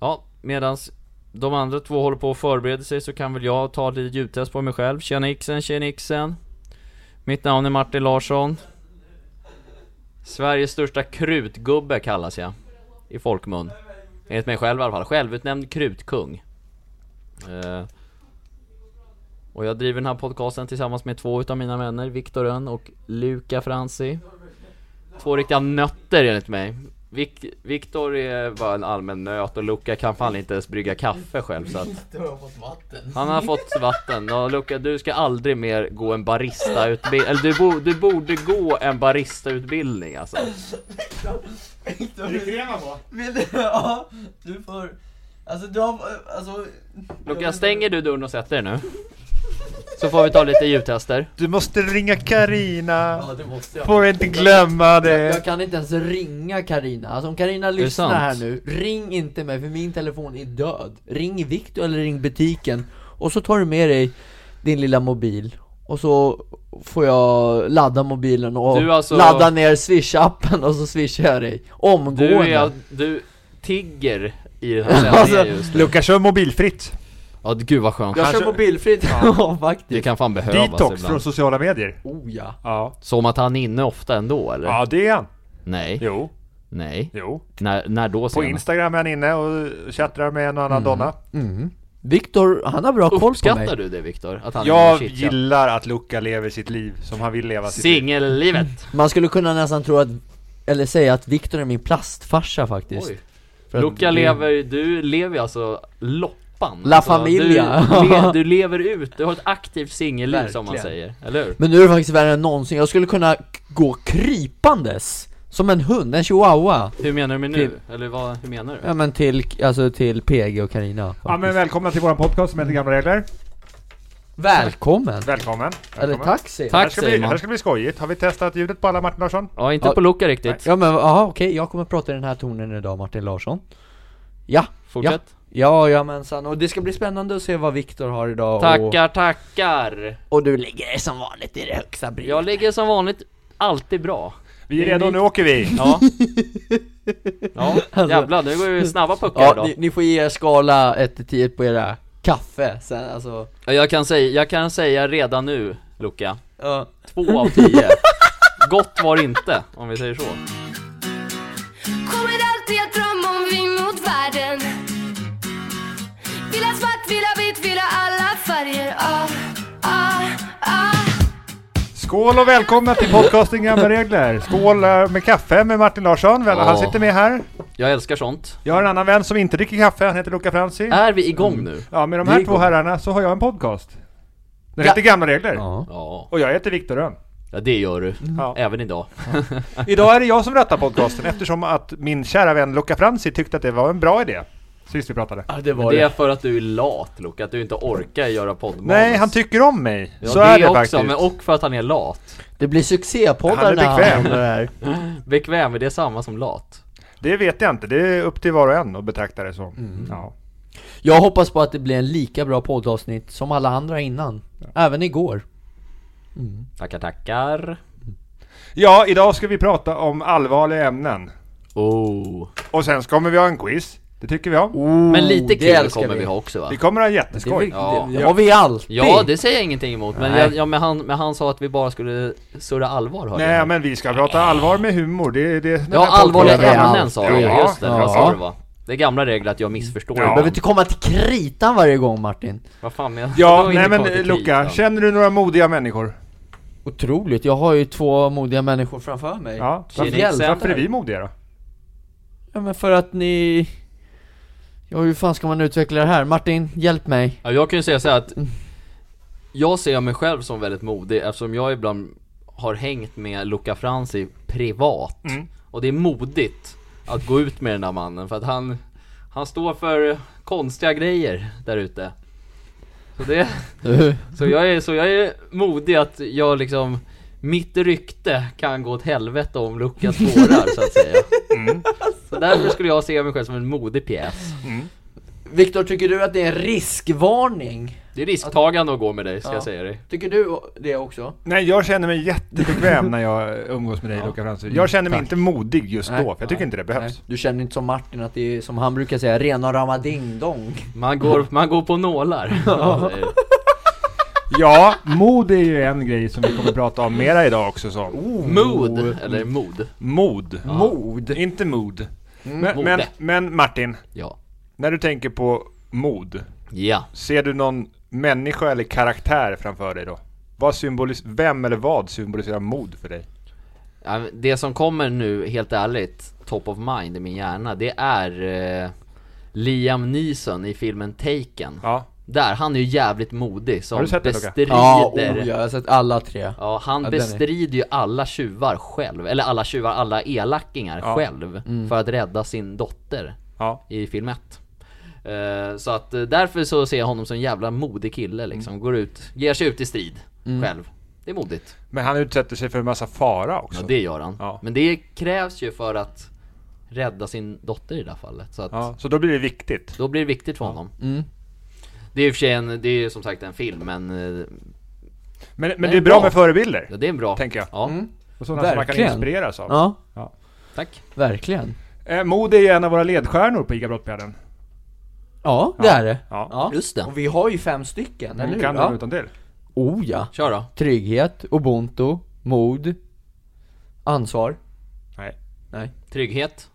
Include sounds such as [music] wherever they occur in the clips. Ja, medans de andra två håller på att förbereda sig så kan väl jag ta lite ljudtest på mig själv. Tjena Ixen, tjena Ixen. Mitt namn är Martin Larsson. Sveriges största krutgubbe kallas jag. I folkmun. Enligt mig själv i alla fall. Självutnämnd krutkung. Eh, och jag driver den här podcasten tillsammans med två utav mina vänner, Viktor Önn och Luca Franzi. Två riktiga nötter enligt mig. Vik- Viktor är bara en allmän nöt och Luca kan fan inte ens brygga kaffe själv så att Du har fått [laughs] vatten. han har fått vatten och Luca du ska aldrig mer gå en baristautbildning, eller du, bo- du borde gå en baristautbildning alltså. Victor, Är det krema på? vill du, ja, du får, alltså du har, alltså. Luca stänger du dörren och sätter dig nu? Så får vi ta lite ljudtester. Du måste ringa Karina. Ja det måste jag. Får inte glömma Jag, jag det. kan inte ens ringa Karina. Alltså om Karina lyssnar sant? här nu, ring inte mig för min telefon är död. Ring Victor eller ring butiken och så tar du med dig din lilla mobil och så får jag ladda mobilen och Du alltså- ladda ner swish-appen och så swishar jag dig omgående. Du är, du tigger i [laughs] den här sändningen just nu. Lukas kör mobilfritt. Alltså- Ja gud vad skönt. Jag Han kör kör- mobilfritt, [laughs] ja Det faktiskt. kan fan behövas Detox från ibland. sociala medier. Oh ja. Ja. Som att han är inne ofta ändå eller? Ja, det är han. Nej, Jo, nej. jo. När, när då På senast? Instagram är han inne och chattrar med en och annan donna. Mm. Victor, han har bra koll på mig. Uppskattar du det Viktor? Att han är Jag inne och chitchat? gillar att Luca lever sitt liv som han vill leva sitt liv. Singellivet! Man skulle kunna nästan tro att, eller säga att Victor är min plastfarsa faktiskt. Oj. För att Luca det- lever, du lever ju alltså loppan La alltså, Familia. du, [laughs] le, du lever ut, du har ett aktivt singelliv som man säger, Verkligen. eller hur? Men nu är det faktiskt värre än någonsin, jag skulle kunna k- gå krypandes Som en hund, en chihuahua Hur menar du med nu? Typ. Eller vad, hur menar du? Ja men till, alltså till PG och Carina Ja men faktiskt. välkomna till våran podcast som heter Gamla Regler. Välkommen! Välkommen. Eller Välkommen. taxi Tack. Här ska, bli, Simon. här ska bli skojigt. Har vi testat ljudet på alla Martin Larsson? Ja, inte Ja. på Luca riktigt. Ja men aha, okej, jag kommer prata i den här tonen idag Martin Larsson Ja, Fortsätt. ja jamensan, och det ska bli spännande att se vad Victor har idag och, Tackar, tackar! och du ligger som vanligt i det högsta bry. Jag ligger som vanligt alltid bra. Vi är redo, nu åker vi! Ja. [laughs] Ja, jävlar, nu går vi snabba puckar Alltså. Ja, idag. ni, ni får ge er skala 1 till 10 på era kaffe sen alltså Ja, Jag kan säga, jag kan säga redan nu, Luca. ja. Två av tio. [laughs] Gott var det inte, om vi säger så. Kommer alltid att drömma om vi mot världen Vill ha svart, vill ha vitt, vill ha alla färger ah, ah, ah. Skål och välkomna till podcasten Gamla Regler! Skål eh, med kaffe med Martin Larsson, Väl, han Ja. sitter med här. Jag älskar sånt. Jag har en annan vän som inte dricker kaffe, han heter Luca Franzi. Är vi igång nu? Ja, med de det här är två gott. herrarna så har jag en podcast. Den Ja. heter Gamla Regler. Ja. Ja, Och jag heter Viktor Rönn. ja det gör du. Ja. Även idag. Idag är det jag som rattar podcasten eftersom att min kära vän Luca Franzi tyckte att det var en bra idé. Sist vi pratade. Ja, det var Det det. är för att du är lat Luke, att du inte orkar göra poddmanus. Nej, han tycker om mig. ja, så det är det också, faktiskt. men och för att han är lat. Det blir Han succépoddar är när han bekväm. händer det här. Bekväm, är det samma som lat? Det vet jag inte, det är upp till var och en att betrakta det som. Mm. Ja. Jag hoppas på att det blir en lika bra poddavsnitt som alla andra innan. Även igår. Tackar, tackar. ja, idag ska vi prata om allvarliga ämnen. Oh. Och sen så kommer vi ha en quiz. Det tycker vi om. Men lite det kul älskar kommer vi vi. ha också va? Vi kommer ha Oh. Det, är jätteskoj. väl- Ja. det, det har vi alltid. Ja, det säger jag ingenting emot, men, Nej. jag, ja, men, han, men han sa att vi bara skulle surra allvar hörde Nej jag. men vi ska prata allvar med humor, det är det den Ja, här allvarliga podcasten handlar om. ämnen sa du, Ja, just det, ja. vad sa du va? Det är gamla regler att jag missförstår Ja. ibland. Behöver inte komma till kritan varje gång Martin. Vad fan menar [laughs] du? Ja, Då har vi nej inte men kommit till Luca, kritan. känner du några modiga människor? Otroligt, jag har ju två modiga människor framför mig. Ja, Till varför, Hjältar. varför är vi modiga då? ja men för att ni... Ja hur fan ska man utveckla det här? Martin, hjälp mig. Ja, jag kan ju säga så här att jag ser mig själv som väldigt modig eftersom jag ibland har hängt med Luca Franzi privat. Och det är modigt att gå ut med den där mannen för att han, han står för konstiga grejer där ute. Så, det, så, jag är, så jag är modig att jag liksom mitt rykte kan gå åt helvete om Luca spårar så att säga. Så därför skulle jag se mig själv som en modig pjäs. Viktor, tycker du att det är en riskvarning? Det är risktagande att gå med dig, ska Ja. jag säga dig. Tycker du det också? Nej, jag känner mig jättebekväm när jag umgås med dig Ja. Luca Fransson. Jag känner mig Tack. inte modig just Nej. då, för jag tycker inte det behövs. Nej, du känner inte som Martin att det är som han brukar säga, rena rama [laughs] ding-dong? Man går, man går på [laughs] nålar. Ja, det är- Ja, mod är ju en grej som vi kommer prata om mera idag också så. Mood, eller mod. Oh. Mod. Mod? Inte mod. Men, Mode. men, men Martin, Ja. när du tänker på mod, Ja. ser du någon människa eller karaktär framför dig då? Vad symbolis- vem eller vad symboliserar mod för dig? Ja, men Det som kommer nu, helt ärligt, top of mind i min hjärna, det är eh, Liam Neeson i filmen Taken. Ja, Där, han är ju jävligt modig som Har du sett den, Luca? bestrider... Ja, oh, ja, jag har sett alla tre. Ja, han Ja, den är- bestrider ju alla tjuvar själv, eller alla tjuvar, alla elackingar Ja. själv, Mm. för att rädda sin dotter ja. i film 1. Eh, Så att eh, därför så ser jag honom som en jävla modig kille Mm. liksom, går ut, ger sig ut i strid själv. Det är modigt. Men han utsätter sig för en massa fara också. Ja det gör han. Ja. Men det krävs ju för att rädda sin dotter i det här fallet. Så att Ja, Mm. så då blir det viktigt. då blir det viktigt för honom. Det är i och för sig en, det är ju som sagt en film men eh, Men, men Nej, det är bra bra. med förebilder. ja, det är en bra... Tänker jag. Mm. Ja, Och sådana som man kan Verkligen. inspireras av. Ja, tack. verkligen. Eh, mod är ju en av våra ledstjärnor på ICA Brottbjörnen. Ja, det är det. Mm, Ja. Just det. Och vi har ju fem stycken, eller Du hur? kan den Ja. utan till. Oh ja. Kör då. Trygghet, ubuntu, mod, ansvar. Nej. Nej. Trygghet,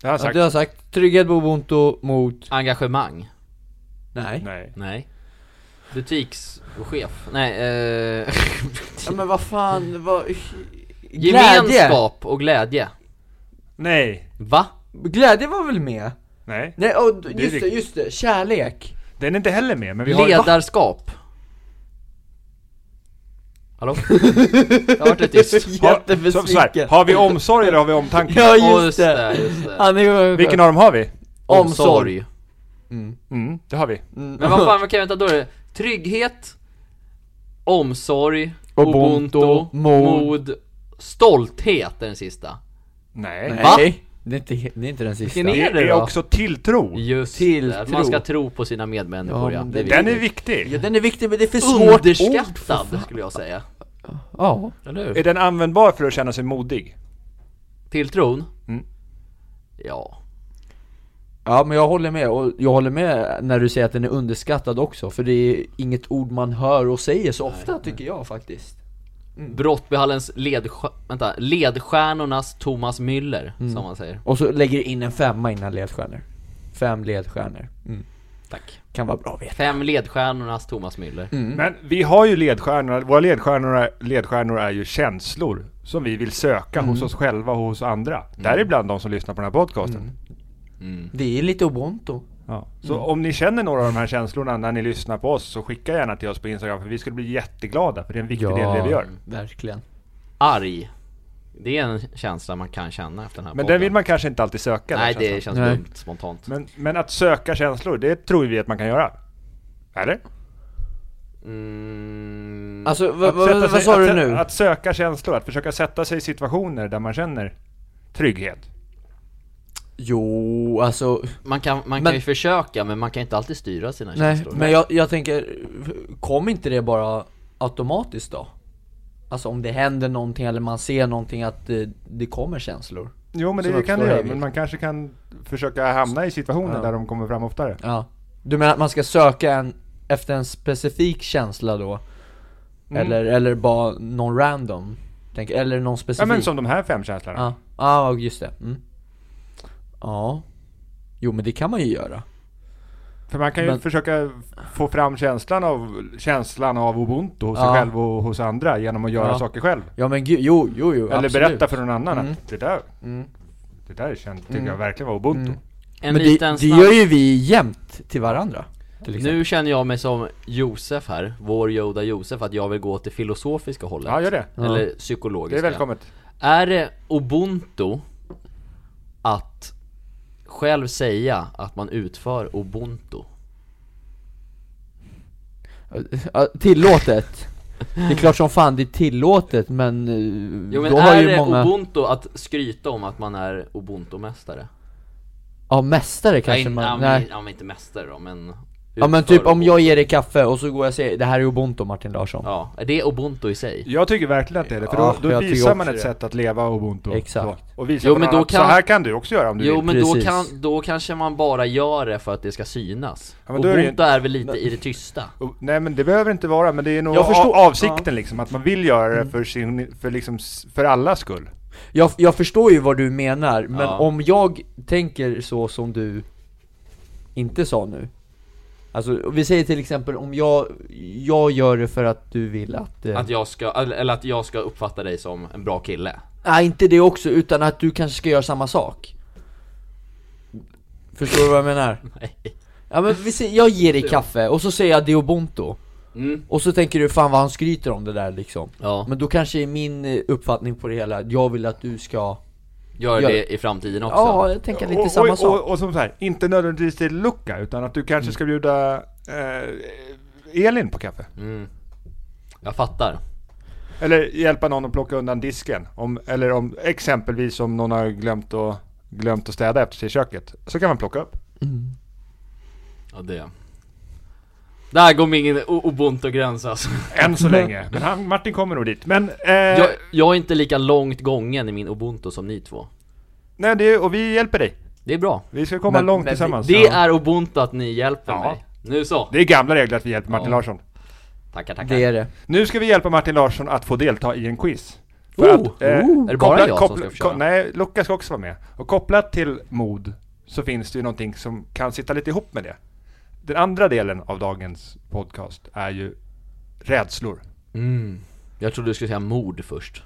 Det har jag Ja, sagt. du har sagt trygghet, ubuntu, mod, engagemang. nej. Nej. Nej. Butikschef. Nej, eh... [laughs] Ja, men vad fan, vad... Glädje! Gemenskap och glädje. Nej. Va? Glädje var väl med? Nej. Nej, och är just det, riktigt. just det, kärlek. Den är inte heller med, men vi har... [laughs] Ledarskap. Hallå? Jag vart lite tyst. har, som så här, har vi omsorg eller har vi omtanke? Ja Åh, just det, just det. Han är Vilken av dem har vi? Omsorg. Mm, det har vi. Men vad fan, vad kan jag vänta då? är det Trygghet, omsorg, Ubuntu, ubuntu, mod. mod. stolthet är den sista. Nej. Va? Nej, det är, inte, det är inte den sista Vilken Det är det är då? också tilltro. Just Tilltro. det, att man ska tro på sina medmänniskor Ja, ja. men Det det- är Den är viktigt. viktig. Ja den är viktig men det är för svårt ord för Underskattad fan. skulle jag säga. Ja, Eller hur? Är den användbar för att känna sig modig? Tilltron? Mm. Ja. Ja men jag håller med, och jag håller med när du säger att den är underskattad också För det är inget ord man hör och säger så ofta tycker jag faktiskt Brottbyhallens ledstjär... vänta, ledstjärnornas Thomas Müller, som man säger. Och så lägger du in en femma innan ledstjärnor Fem ledstjärnor Tack. Kan vara bra att veta Fem ledstjärnornas Thomas Müller. Men vi har ju ledstjärnor, våra ledstjärnor är, ledstjärnor är ju känslor som vi vill söka Mm. hos oss själva och hos andra. Däribland de som lyssnar på den här podcasten. Mm. Det är lite ubuntu Ja. Så om ni känner några av de här känslorna när ni lyssnar på oss så skicka gärna till oss på Instagram för vi skulle bli jätteglada för det är en viktig del i det vi gör. verkligen Arg. Det är en känsla man kan känna efter den här Men podden. den vill man kanske inte alltid söka. den Nej, känslan. det känns Nej. dumt spontant. men, men att söka känslor, det tror vi att man kan göra. Eller? Mm, Alltså Att vad, vad, sätta vad, sig- sa att, du sä- nu? Att söka känslor, att försöka sätta sig i situationer där man känner trygghet. Jo, alltså man kan, man men- kan ju försöka, men man kan inte alltid styra sina Nej, känslor. men jag, jag tänker, kom inte det bara automatiskt då? Alltså om det händer någonting eller man ser någonting att eh, det kommer känslor Jo men Som det uppstår kan det göra, i- men man kanske kan försöka hamna i situationer Ja. där de kommer fram oftare. Ja Du menar att man ska söka en, efter en specifik känsla då? Eller, eller bara någon random? Tänk, eller någon Mm. Ja specifik? men som de här fem känslorna. Ja, ah, just det mm. Ja Jo men det kan man ju göra För man kan ju Men- försöka få fram känslan av, känslan av ubuntu hos Ja. sig själv och hos andra genom att göra Ja. saker själv. Ja men gud, jo, jo, jo Eller absolut. berätta för någon annan Mm. att det där, Mm. det där kände, tycker jag verkligen var ubuntu. Mm. en Men det, liten det snabb... gör ju vi jämt till varandra till exempel. Nu känner jag mig som Josef här, vår Yoda Josef, att jag vill gå åt det filosofiska hållet. Ja, gör det. Eller Det psykologiska. är välkommet. Är det ubuntu att själv säga att man utför ubuntu? Ja, tillåtet. Det är klart som fan det är tillåtet men, eh, Jo men då har är ju det många, ubuntu att skryta om att man är ubuntu-mästare? ja mästare Nej, kanske ja, man, men, nej. ja men inte mästare då, men Ja men typ om jag ger dig kaffe och så går jag och säger det här är ubuntu Martin Larsson Ja, det är ubuntu i sig. Jag tycker verkligen att det är det, för Ja, då, då jag tycker visar man också ett det. sätt att leva ubuntu. Exakt. Så. Och visa Jo, jo, men men då så kan- här kan du också göra om du Jo vill. men då, Precis. kan, då kanske man bara gör det för att det ska synas. Ja, men då är det ju- Ubuntu är väl lite i det tysta. Och- Nej men det behöver inte vara, men det är nog Jag förstår- a- avsikten liksom, att man vill göra Mm. det för, sin, för, liksom, s- för allas skull. Jag, jag förstår ju vad du menar, men Ja. om jag tänker så som du inte sa nu Alltså vi säger till exempel om jag, jag gör det för att du vill att, eh, Att jag ska, eller eller att jag ska uppfatta dig som en bra kille. Nej inte det också, utan att du kanske ska göra samma sak Förstår du vad jag menar? Nej. Ja men vi säger, jag ger dig kaffe och så säger jag det är ubuntu Mm. Och så tänker du fan vad han skryter om det där liksom Ja, Men då kanske är min eh, uppfattning på det hela, att jag vill att du ska gör gör det i framtiden också. Ja, jag tänker lite och, samma och, sak och, och som så här, inte nödvändigtvis till Luca, utan att du Mm. kanske ska bjuda eh, Elin på kaffe. Mm. Jag fattar. Eller hjälpa någon att plocka undan disken. Om, eller om exempelvis om någon har glömt att, glömt att städa efter sig i köket. Så kan man plocka upp. Ja, det. Där går min o- ubuntu-gräns alltså. Än så länge. Men han, Martin kommer nog dit. Men, eh, jag, jag är inte lika långt gången i min ubuntu som ni två. nej, det, och vi hjälper dig. Det är bra. Vi ska komma Men- långt men vi- tillsammans. Det Ja. är ubuntu att ni hjälper Ja. mig. Nu så. det är gamla regler att vi hjälper Martin Ja. Larsson. Tackar, tackar. Det är det Nu ska vi hjälpa Martin Larsson att få delta i en quiz. eh, Oh, är det bara jag som ska få köra? Nej, Luca ska också vara med. Och kopplat till mod så finns det ju någonting som kan sitta lite ihop med det. Den andra delen av dagens podcast är ju rädslor. Mm. Jag trodde du skulle säga mord först.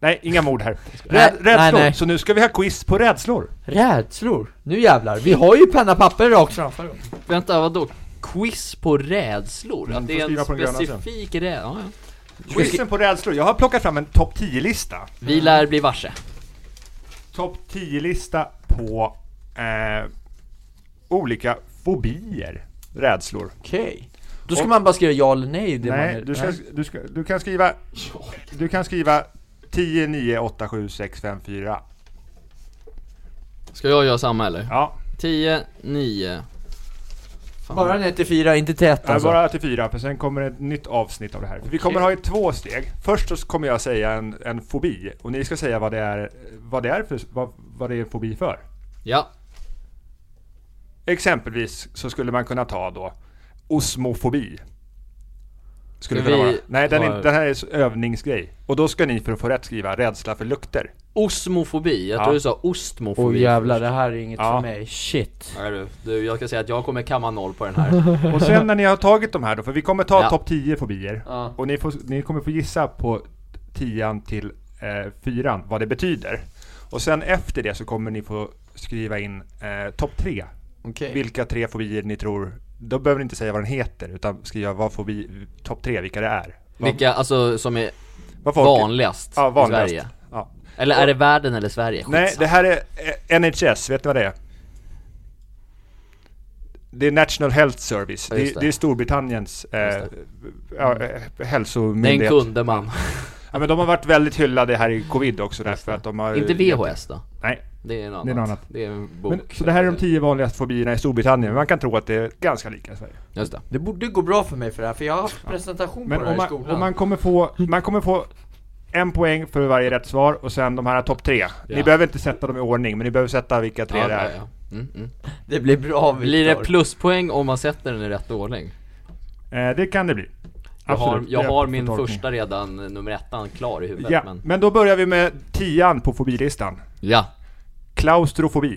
Nej, inga [laughs] mord här. Räd, rädslor. nej, nej. Så nu ska vi ha quiz på rädslor. Rädslor? Nu jävlar, vi har ju penna och papper rakt framför oss Vänta, vadå? Quiz på rädslor? Mm, att får det är skriva en på den gröna sen. specifik rädsla? Ja, ja. Quizen på rädslor. Jag har plockat fram en topp 10-lista. Vi lär bli varse. Topp 10-lista på eh, olika fobier. Rädslor. Okej Då ska man bara skriva ja eller nej det man Nej, är, du, ska, du, ska, du kan skriva... Du kan skriva 10, 9, 8, 7, 6, 5, 4. Ska jag göra samma eller? Ja, 10, 9... Fan. Bara ner till fyra, inte till ett det är alltså bara till 4, för sen kommer ett nytt avsnitt av det här. För vi kommer ha i två steg. Först så kommer jag säga en, en fobi, och ni ska säga vad det är, vad det är, för, vad, vad det är en fobi för. Ja. Exempelvis så skulle man kunna ta då osmofobi. Skulle Ska kunna vara. vi Nej, den, ha- är, den här är s- övningsgrej. Och då ska ni för att få rätt skriva rädsla för lukter. Osmofobi, jag Ja. tror du sa ostmofobi Åh jävlar, det här är inget Ja. för mig, shit Nej, du, du, jag ska säga att jag kommer kamma noll på den [laughs] här Och sen när ni har tagit de här då, för vi kommer ta Ja. topp 10 fobier. Ja. Och ni, får, ni kommer få gissa på 10 till eh, 4 vad det betyder. Och sen efter det så kommer ni få skriva in eh, topp 3. Okej Vilka tre fobier ni tror, då behöver ni inte säga vad den heter, utan skriva vad fobi, topp 3, vilka det är. Vad- Vilka, alltså som är vad folk- vanligast ja, i vanligast. Sverige? Ja. Eller är det världen eller Sverige? Nej, det Skitsamma. här är eh, NHS, vet ni vad det är? Det är National Health Service, Ja, det, just är- det. det är Storbritanniens eh, ja, eh, hälsomyndighet. Den kunde man Ja, men de har varit väldigt hyllade här i covid också därför att de har... Inte VHS då? Nej. Det är en annan Det är en annan. Det är en bok Men, så det här är de tio vanligaste fobierna i Storbritannien, men man kan tro att det är ganska lika i Sverige. Just det Det borde gå bra för mig för det här, för jag har haft presentation Men på det här om i man, skolan om man, kommer få, man kommer få en poäng för varje rätt svar och sen de här topp tre. Ni Ja. behöver inte sätta dem i ordning, men ni behöver sätta vilka tre ja, det är. ja, ja. Mm, mm. Det blir bra Viktor Blir det pluspoäng om man sätter den i rätt ordning? Eh, det kan det bli. Jag har, Absolut. jag Det är har för min tolkning. första redan, eh, nummer ettan, klar i huvudet Ja, men men då börjar vi med tian på fobilistan. Ja, Klaustrofobi.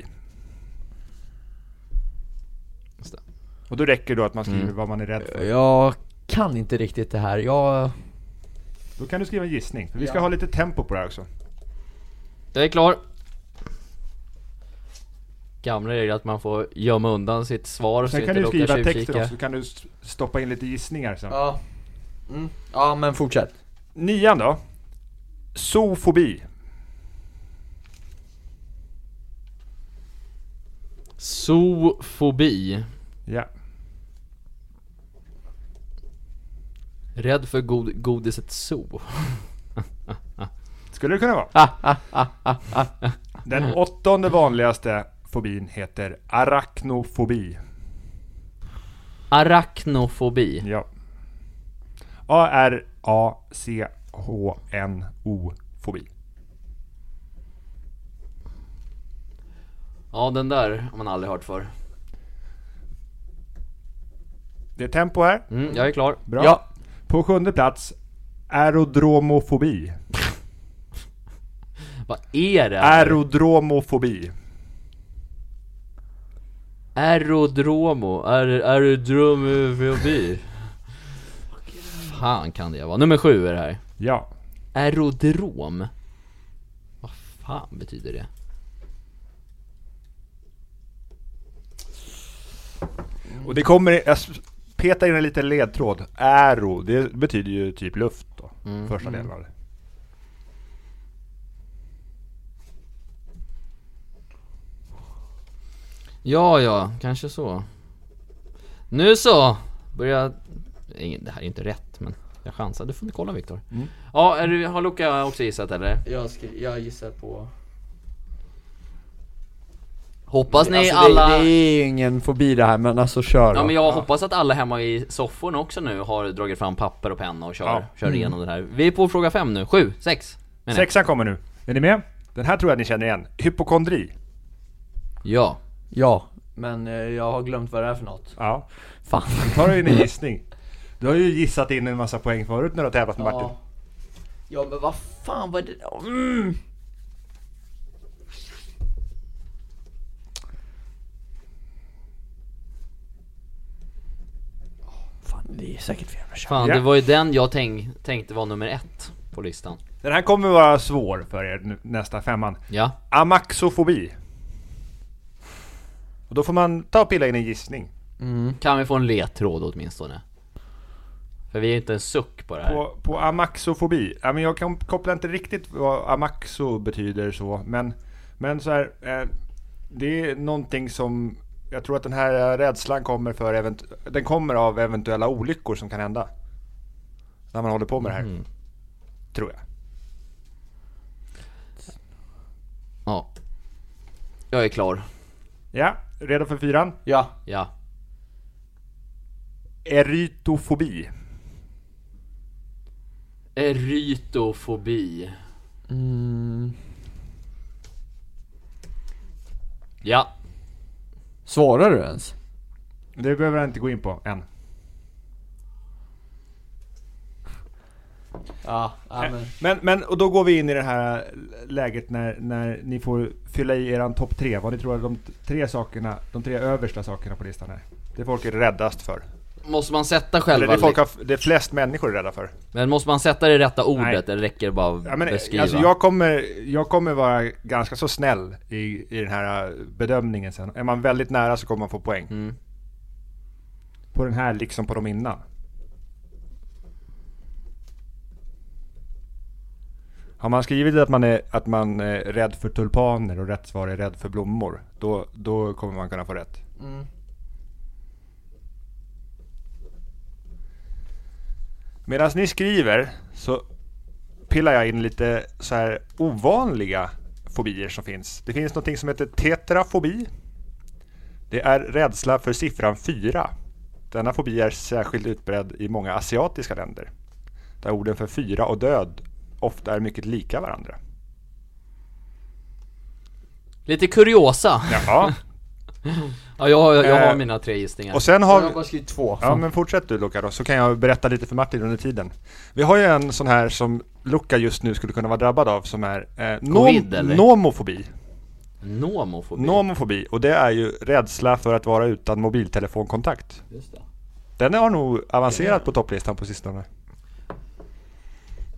Just det. Mm. Och då räcker det då att man skriver vad man är rädd för. Jag kan inte riktigt det här, jag... Då kan du skriva en gissning. För vi ska ha lite tempo på det här också. jag är klar Gamla regler att man får gömma undan sitt svar så Sen inte kan du Luca skriva texten tjuvkika. också, så kan du s- stoppa in lite gissningar sen. Ja mm. Ja men fortsätt Nian då? Zoofobi. Zoofobi Ja. Rädd för god, godiset zoo Skulle det kunna Ah, vara. Den åttonde vanligaste fobin heter arachnofobi. Arachnofobi. Ja. A-R-A-C-H-N-O-fobi. Ja, den där har man aldrig hört för. Det är tempo här. Mm, jag är klar. Bra. Ja. På sjunde plats, aerodromofobi. Vad är det? Aerodromofobi. Aerodromo, aer, aerodromofobi Fan kan det vara, nummer sju är det här Ja. Aerodrom? Vad fan betyder det? Och det kommer, jag petar in en liten ledtråd. Aero, det betyder ju typ luft då. Mm. Första delen av det. Ja, ja, kanske så Nu så! Börjar... Ingen, det här är inte rätt men jag chansar, du får kolla Viktor Ja, är du, har Luca också gissat eller? Jag, ska, jag gissar på... Hoppas ni alltså, alla... det, det är ju ingen fobi det här men alltså kör Ja då. men jag hoppas att alla hemma i sofforna också nu har dragit fram papper och penna och kör, Ja. kör igenom det här Vi är på fråga fem nu, sju, sex menar jag. Sexan kommer nu. Är ni med? Den här tror jag ni känner igen. Hypokondri. Ja Ja, men eh, jag har glömt vad det är för något. Ja. Fan. Nu tar du in en gissning. Du har ju gissat in en massa poäng förut när du har tävlat med Martin. Ja. ja men vad fan var det då? Mm. Fan det är säkert fel men kör. Fan, Ja. det var ju den jag tänk, tänkte var nummer ett på listan. Den här kommer vara svår för er nu, nästa femman. Ja. Amaxofobi. Och då får man ta och pilla in en gissning. Kan vi få en ledtråd åtminstone? För vi är inte en suck på det här. På, på amaxofobi. Ja, men jag kan koppla inte riktigt vad amaxo betyder så, men, men så här, eh, det är någonting som jag tror att den här eh, rädslan kommer för event- den kommer av eventuella olyckor som kan hända. När man håller på med det här. Tror jag. Ja. Jag är klar. Ja, redo för fyran? Ja, Ja. Erytofobi. Erytofobi. Ja. svarar du ens? Det behöver jag inte gå in på än. Ja, ja men. Men, men och då går vi in i det här läget när, när ni får fylla i eran topp tre. Vad ni tror är de t- tre sakerna, de tre översta sakerna på listan är. Det folk är räddast för. Måste man sätta Eller själva... det folk har, f- det flest människor är rädda för. Men måste man sätta det rätta ordet eller räcker det bara att Ja, men, beskriva? alltså jag kommer, jag kommer vara ganska så snäll i, i den här äh, bedömningen sen. Är man väldigt nära så kommer man få poäng. På den här liksom på de innan. Har man skrivit att man är, att man är rädd för tulpaner och rätt svar är rädd för blommor, då, då kommer man kunna få rätt. Medan ni skriver så pillar jag in lite så här ovanliga fobier som finns. Det finns någonting som heter tetrafobi. Det är rädsla för siffran 4. Denna fobi är särskilt utbredd i många asiatiska länder. Där orden för fyra och död ofta är mycket lika varandra. Lite kuriosa. Ja, Jaha. jag, jag, har Eh, mina tre gissningar. Och sen Jag har vi... har bara skrivit två. Ja men fortsätt du Luca då, så kan jag berätta lite för Martin under tiden. Vi har ju en sån här som Luca just nu skulle kunna vara drabbad av som är eh, Covid, nom- eller? nomofobi. Nomofobi. Nomofobi, och det är ju rädsla för att vara utan mobiltelefonkontakt. Den har nog avancerat på topplistan på sistone.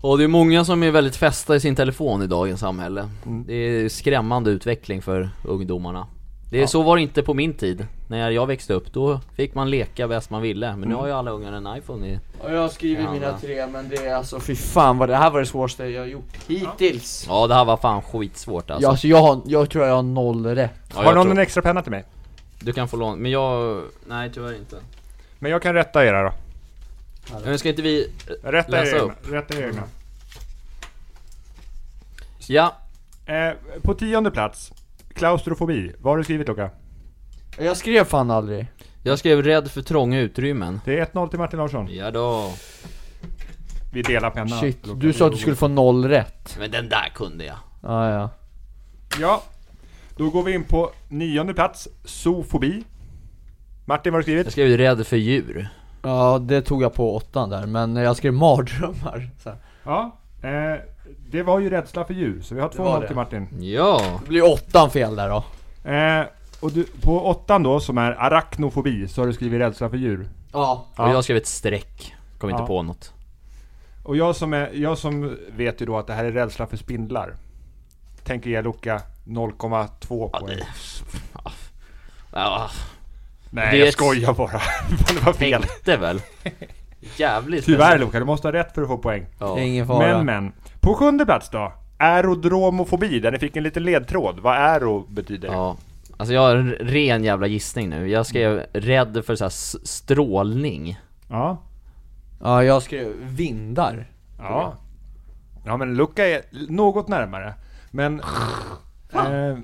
Och det är många som är väldigt fästa i sin telefon i dagens samhälle. Mm. Det är skrämmande utveckling för ungdomarna. Det är Så var det inte på min tid. När jag växte upp, då fick man leka bäst man ville. Men nu Mm. har ju alla ungar en iPhone i... Och jag har skrivit Ja, mina men. tre men det är alltså fy fan vad det här var det svåraste jag har gjort hittills. Ja. Ja det här var fan skitsvårt alltså. Ja, alltså jag, har, jag tror jag har noll rätt. Ja, har jag någon tror- en extra penna till mig? Du kan få låna, men jag... Nej tyvärr inte. Men jag kan rätta era då. Men ska inte vi... Rätta Läsa er egna. upp. Rätta er egna. Ja, Eh, på tionde plats, klaustrofobi. Vad har du skrivit Luca? Jag skrev fan aldrig. Jag skrev rädd för trånga utrymmen. Det är 1-0 till Martin Larsson. Ja då. Vi delar pennan. Shit, du sa att du skulle få noll rätt. Men den där kunde jag. Ah, ja. Ja, då går vi in på nionde plats, zoofobi. Martin, vad har du Jag skrivit? skrev ju rädd för djur. ja, det tog jag på åttan där, men jag skrev mardrömmar. Så här. Ja, eh, det var ju rädsla för djur, så vi har var 2-0 det. till Martin. Ja. Det blir åttan fel där då. Eh, och du, på åttan då, som är arachnofobi, så har du skrivit rädsla för djur. Ja. Och jag skrev ett streck. Kom inte Ja. på något. Och jag som, är, jag som vet ju då att det här är rädsla för spindlar. Tänker ge Luca 0,2 poäng. Ja, Nej, det är jag ett- [laughs] skojar bara. [laughs] det var fel. tänkte väl. Jävligt. Tyvärr Luca, du måste ha rätt för att få poäng. Ja. Det är ingen fara. Men men. På sjunde plats då. Aerodromofobi, där ni fick en liten ledtråd. Vad aero betyder. ja. Alltså jag har en ren jävla gissning nu. Jag skrev rädd för så här s- strålning. Ja. Ja, jag skrev vindar. Ja. Ja men Luca är något närmare. [laughs] Men... eh,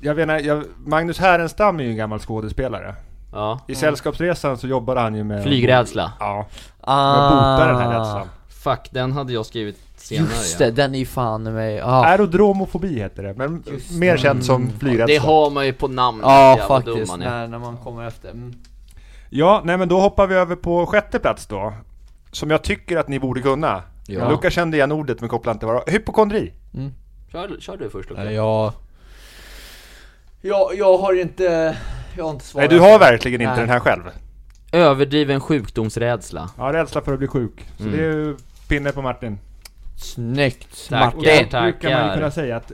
jag menar, jag, Magnus Härenstam är ju en gammal skådespelare. Ja. I Sällskapsresan så jobbade han ju med... Flygrädsla. Ja. Ah. Jag botar den här rädslan. Fuck, den hade jag skrivit senare. Just ja. det, den är ju fan i mig. Ah. Äh. Ja, Aerodromofobi heter det, Mm. men mer känt som flygrädsla. Det har man ju på namnet. ja jävla dum faktiskt. man är. När, när man kommer efter. Mm. Ja, nej men då hoppar vi över på sjätte plats då. Som jag tycker att ni borde kunna. Ja. Ja. Luca kände igen ordet men kopplade inte vad det var. Hypokondri! Kör, kör du först Lukas. Nej, jag... jag... Jag har inte... Jag har inte Nej, svarat. du har verkligen inte Nej. den här själv. Överdriven sjukdomsrädsla. Ja, rädsla för att bli sjuk. Så det är ju pinne på Martin. Snyggt Tack. Och Martin. Det det brukar man tackar. ju kunna säga att,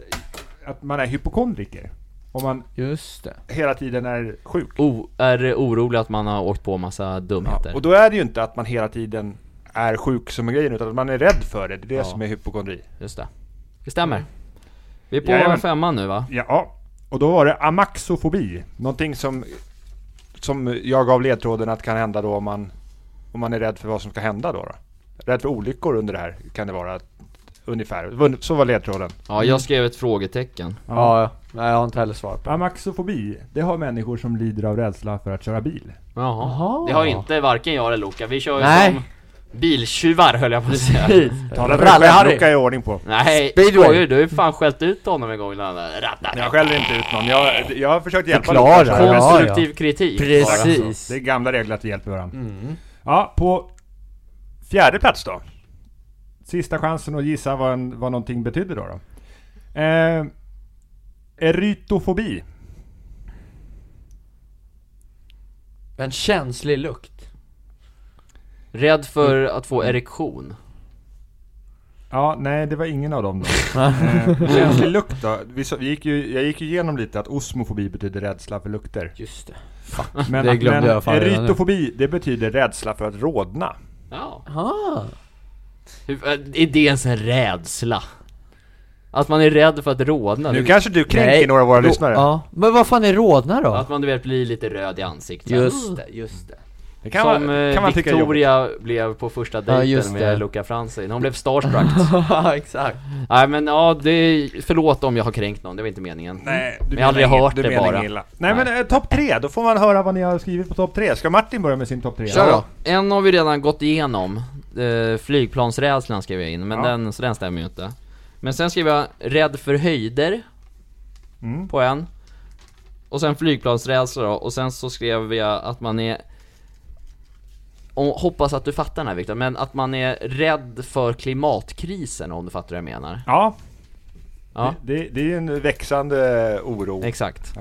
att man är hypokondriker. Om man Just det. hela tiden är sjuk. O- är orolig att man har åkt på massa dumheter. Och då är det ju inte att man hela tiden är sjuk som är grejen, utan att man är rädd för det. Det är det Ja. som är hypokondri. Just det. Det stämmer. Vi är på Jajamän. femman nu va? Ja, och då var det amaxofobi. Någonting som, som jag gav ledtråden att kan hända då om man, om man är rädd för vad som ska hända då. då. Rädd för olyckor under det här kan det vara ungefär. Så var ledtråden. Ja, jag skrev ett frågetecken. Ja, ja. Nej, jag har inte heller svarat på det. Amaxofobi, det har människor som lider av rädsla för att köra bil. Jaha. Jaha. Det har inte varken jag eller Loka. Vi kör ju Nej. som biltjuvar höll jag på att säga. Precis. Tala för dig själv, Rallar-Harry. Luca är i ordning på. Nej, Speedway. skojar du? Du har ju fan skällt ut honom en gång när han Jag skäller inte ut någon. Jag, jag har försökt hjälpa Förklara. Luca. Ja, ja. Konstruktiv kritik. bara. Precis. Det är gamla regler att vi hjälper varandra. Mm. Ja, på fjärde plats då. Sista chansen att gissa vad, en, vad någonting betyder då. då. Eh, erytofobi. En känslig lukt. Rädd för att få erektion. Ja, nej det var ingen av dem [laughs] då. eh, känslig lukt då. Vi, så, vi gick ju, jag gick ju igenom lite att osmofobi betyder rädsla för lukter. Just det. Men, Det glömde men jag fan redan nu. erytofobi, det betyder rädsla för att rodna. Ja. Ah. Hur- äh, Är det ens en rädsla? Att man är rädd för att rodna? Nu Du- kanske du kränker Nej. några av våra Då- lyssnare. Ja. Men vad fan är rodnad då? Att man du vet blir lite röd i ansiktet. Just det, just det. Det kan, som man, eh, kan man tycka är jobbigt. Victoria blev på första dejten just det. med Luca Franzi, hon blev [laughs] starstruck Ja, exakt. Nej men ja, det är, förlåt om jag har kränkt någon, det var inte meningen Nej, du Mm. Men jag har aldrig menar hört du det menar bara. inget Illa. Nej, men eh, topp tre, då får man höra vad ni har skrivit på topp tre. Ska Martin börja med sin topp tre? Ja, en har vi redan gått igenom, eh, flygplansrädslan skrev jag in, men Ja. den, så den stämmer ju inte Men sen skrev jag rädd för höjder Mm. på en Och sen flygplansrädsla då, och sen så skrev jag att man är och hoppas att du fattar den här Viktor, men att man är rädd för klimatkrisen om du fattar vad jag menar Ja, Ja, det, det är ju en växande oro. exakt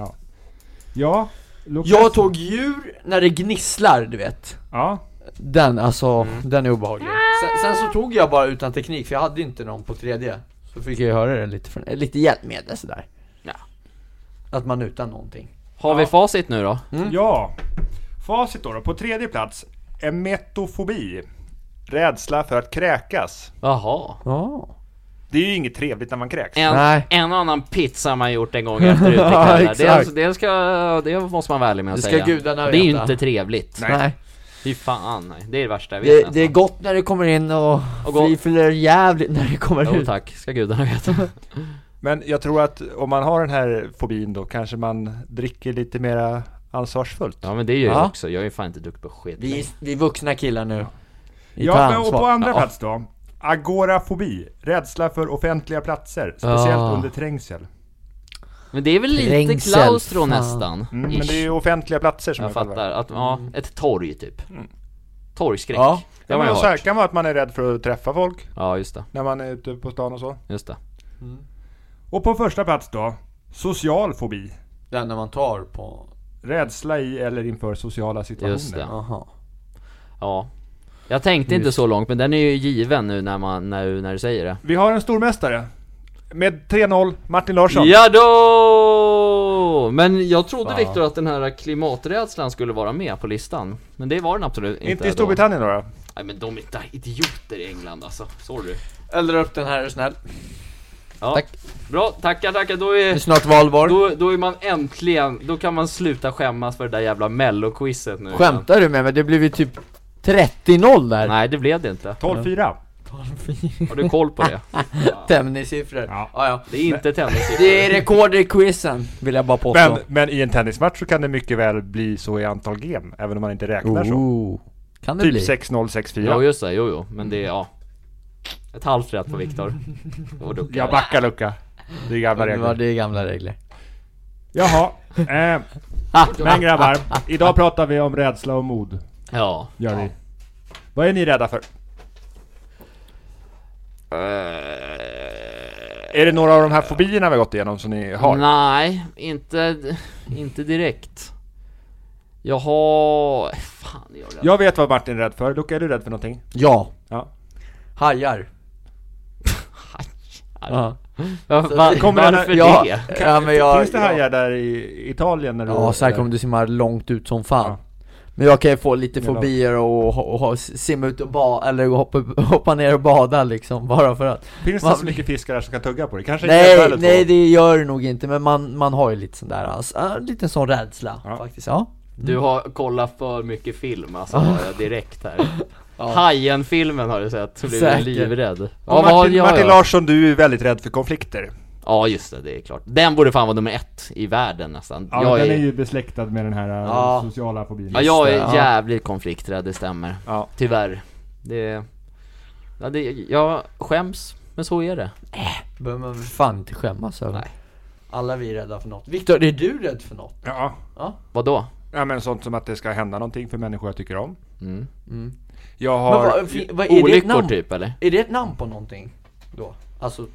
Ja, Lukas. Jag tog djur när det gnisslar, du vet. Ja, Den, alltså, Mm. den är obehaglig. Sen, sen så tog jag bara utan teknik, för jag hade ju inte någon på tredje. Så fick jag ju höra det lite, från, eh, lite hjälpmedel sådär. Ja. Att man utan någonting. Har vi facit nu då? Mm. ja. Facit då, då. På tredje plats, emetofobi. Rädsla för att kräkas. Jaha Ja. Det är ju inget trevligt när man kräks. en, Nej. en annan pizza man gjort en gång efter utekvällar, det, exakt. är- alltså- det, ska, det måste man vara ärlig med att Det ska säga gudarna Det är ju veta. inte trevligt, Nej. Nej. fy fan nej. det är det värsta jag vet Det, nästan det är gott när det kommer in och, Och och gott. frifyller jävligt när det kommer Jo ut. tack, ska gudarna veta Men jag tror att om man har den här fobin då kanske man dricker lite mera ansvarsfullt. Ja men det gör jag Ja. också, jag är ju fan inte duktig på skit Vi, är- vi är vuxna killar nu. Vi tar Ja, men och på ansvar. andra Ja. plats då. Agorafobi, rädsla för offentliga platser, speciellt Ja. under trängsel. Men det är väl lite Trängsel, klaustro fan. nästan? Mm, Ish. men det är ju offentliga platser som Jag fattar, att, ja, ett torg typ Torgskräck, Ja. det har Ja, man ju men så här hört kan vara att man är rädd för att träffa folk Ja just det, när man är ute på stan och så. just det Och på första plats då, social fobi. Den när man tar på... Rädsla i eller inför sociala situationer. Just det. Aha. Ja Jag tänkte inte så långt men den är ju given nu när man, när, när du säger det Vi har en stormästare. Med 3-0, Martin Larsson. Ja då! Men jag trodde Viktor att den här klimaträdslan skulle vara med på listan Men det var den absolut inte Inte i då. Storbritannien då. då. Nej men de är inte idioter i England alltså, sorry Eldar upp den här är du snäll. ja. Tack. Bra, tackar tackar, då Det är är, snart valborg. då, då är man äntligen, då kan man sluta skämmas för det där jävla melloquizet nu Skämtar du med mig? Det blev ju typ 30-0 där. Nej det blev det inte, 12-4. har du koll på det? Tennissiffror. Ja. Ah, ja. Det är inte tennis Det är rekord i quizen, vill jag bara påstå. Men, men i en tennismatch så kan det mycket väl bli så i antal game, även om man inte räknar så. Oh. Kan det Typ bli? 6-0, 6-4. Ja just det, jo jo, men det är ja Ett halvt rätt på Viktor Och duckar Jag backar Luca. Det är gamla det var regler. det är gamla regler. Jaha. Eh, men grabbar, idag pratar vi om rädsla och mod. Ja Gör vi. Vad är ni rädda för? Är det några av de här fobierna vi har gått igenom som ni har? Nej, inte, inte direkt Jag har... Fan jag är rädd. Jag vet vad Martin är rädd för. Luca, är du rädd för någonting? Ja. Ja. Hajar. Ja. Va, va, kommer den här- varför ja. det? Ja, men jag... Finns det jag- hajar där i Italien? När du Ja, så här kommer du simma långt ut som fan. Ja. Men jag kan ju få lite Jävlar. fobier och, ha- och, ha- simma ut och bada, eller hoppa, hoppa ner och bada liksom, [laughs] bara för att Finns det Vad- så mycket fiskar där som kan tugga på dig? Kanske inte Nej, eller två. nej det gör det nog inte, men man, man har ju lite sån där, alltså, en liten sån rädsla Ja. faktiskt, ja Du har kollat för mycket film alltså, hör jag direkt här Hajen-filmen har du sett, så blir du Säkert. livrädd Ja, Och vad Martin, gör Martin jag? Larsson, du är väldigt rädd för konflikter. Ja just det, det är klart Den borde fan vara nummer ett i världen nästan jag är, ju besläktad med den här eh, Ja. sociala fobin. ja, jag är Just det, ja. jävligt konflikträdd, det stämmer Ja. Tyvärr det, ja, det, Jag skäms, men så är det behöver man väl fan inte skämmas över Nej. Alla vi är rädda för något. Viktor, är du rädd för något? Ja. Vadå? ja, men sånt som att det ska hända någonting för människor jag tycker om. Mm. Jag Men har... vad, fi- vad, är det ett Olyckor namn? typ eller? Är det ett namn på någonting? Då? Alltså, eh,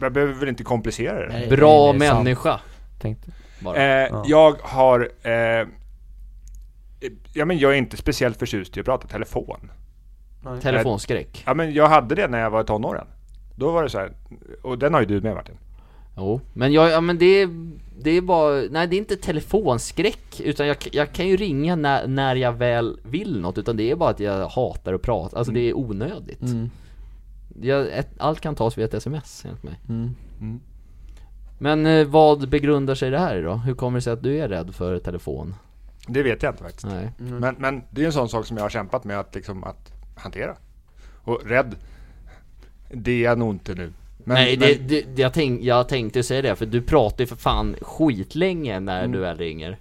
Jag behöver väl inte komplicera det? nej, Bra det är sant. människa Tänkte. bara. Eh, Jag har... Eh, ja, men jag är inte speciellt förtjust i att prata telefon. Telefonskräck Ja, men jag hade det när jag var i tonåren. Då var det så här, och den har ju du med Martin. Jo, men jag, ja men det, det är bara, nej det är inte telefonskräck utan jag, jag kan ju ringa när, när jag väl vill något utan det är bara att jag hatar att prata, alltså det är Mm. onödigt jag, ett, Allt kan tas via ett sms enligt mig Mm. Mm. Men eh, vad begrundar sig det här i då? Hur kommer det sig att du är rädd för telefon? Det vet jag inte faktiskt. Nej. Men, men det är en sån sak som jag har kämpat med att, liksom, att hantera. Och rädd, det är jag nog inte nu. Men, Nej, men, det, det, det, jag, tänk, jag tänkte säga det för du pratar ju för fan skitlänge när Mm. du väl ringer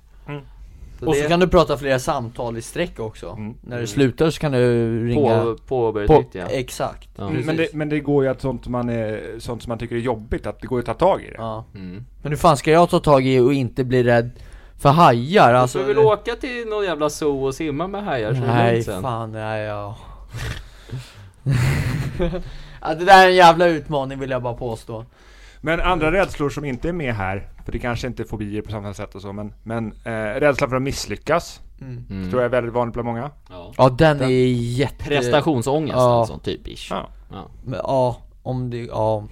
Och så kan du prata flera samtal i sträck också. När du slutar så kan du ringa Mm. På, påbörjat på, nytt ja. Exakt. Ja. Mm, men, det, men det går ju att sånt som, man är, sånt som man tycker är jobbigt, att det går att ta tag i det. Ja. Mm. Men hur fan ska jag ta tag i och inte bli rädd för hajar? Alltså, Alltså, du vill åka till någon jävla zoo och simma med hajar så är det nej lugnt sen. fan, nej ja. [laughs] ja. Det där är en jävla utmaning vill jag bara påstå. Men andra rädslor som inte är med här, för det kanske inte är fobier på samma sätt och så, men, men eh, rädsla för att misslyckas, Mm. tror jag är väldigt vanligt bland många. Ja. Ja den, är jätte... Prestationsångest Ja. alltså, typ ish. Ja. Ja. Men, Ja, om det, ja.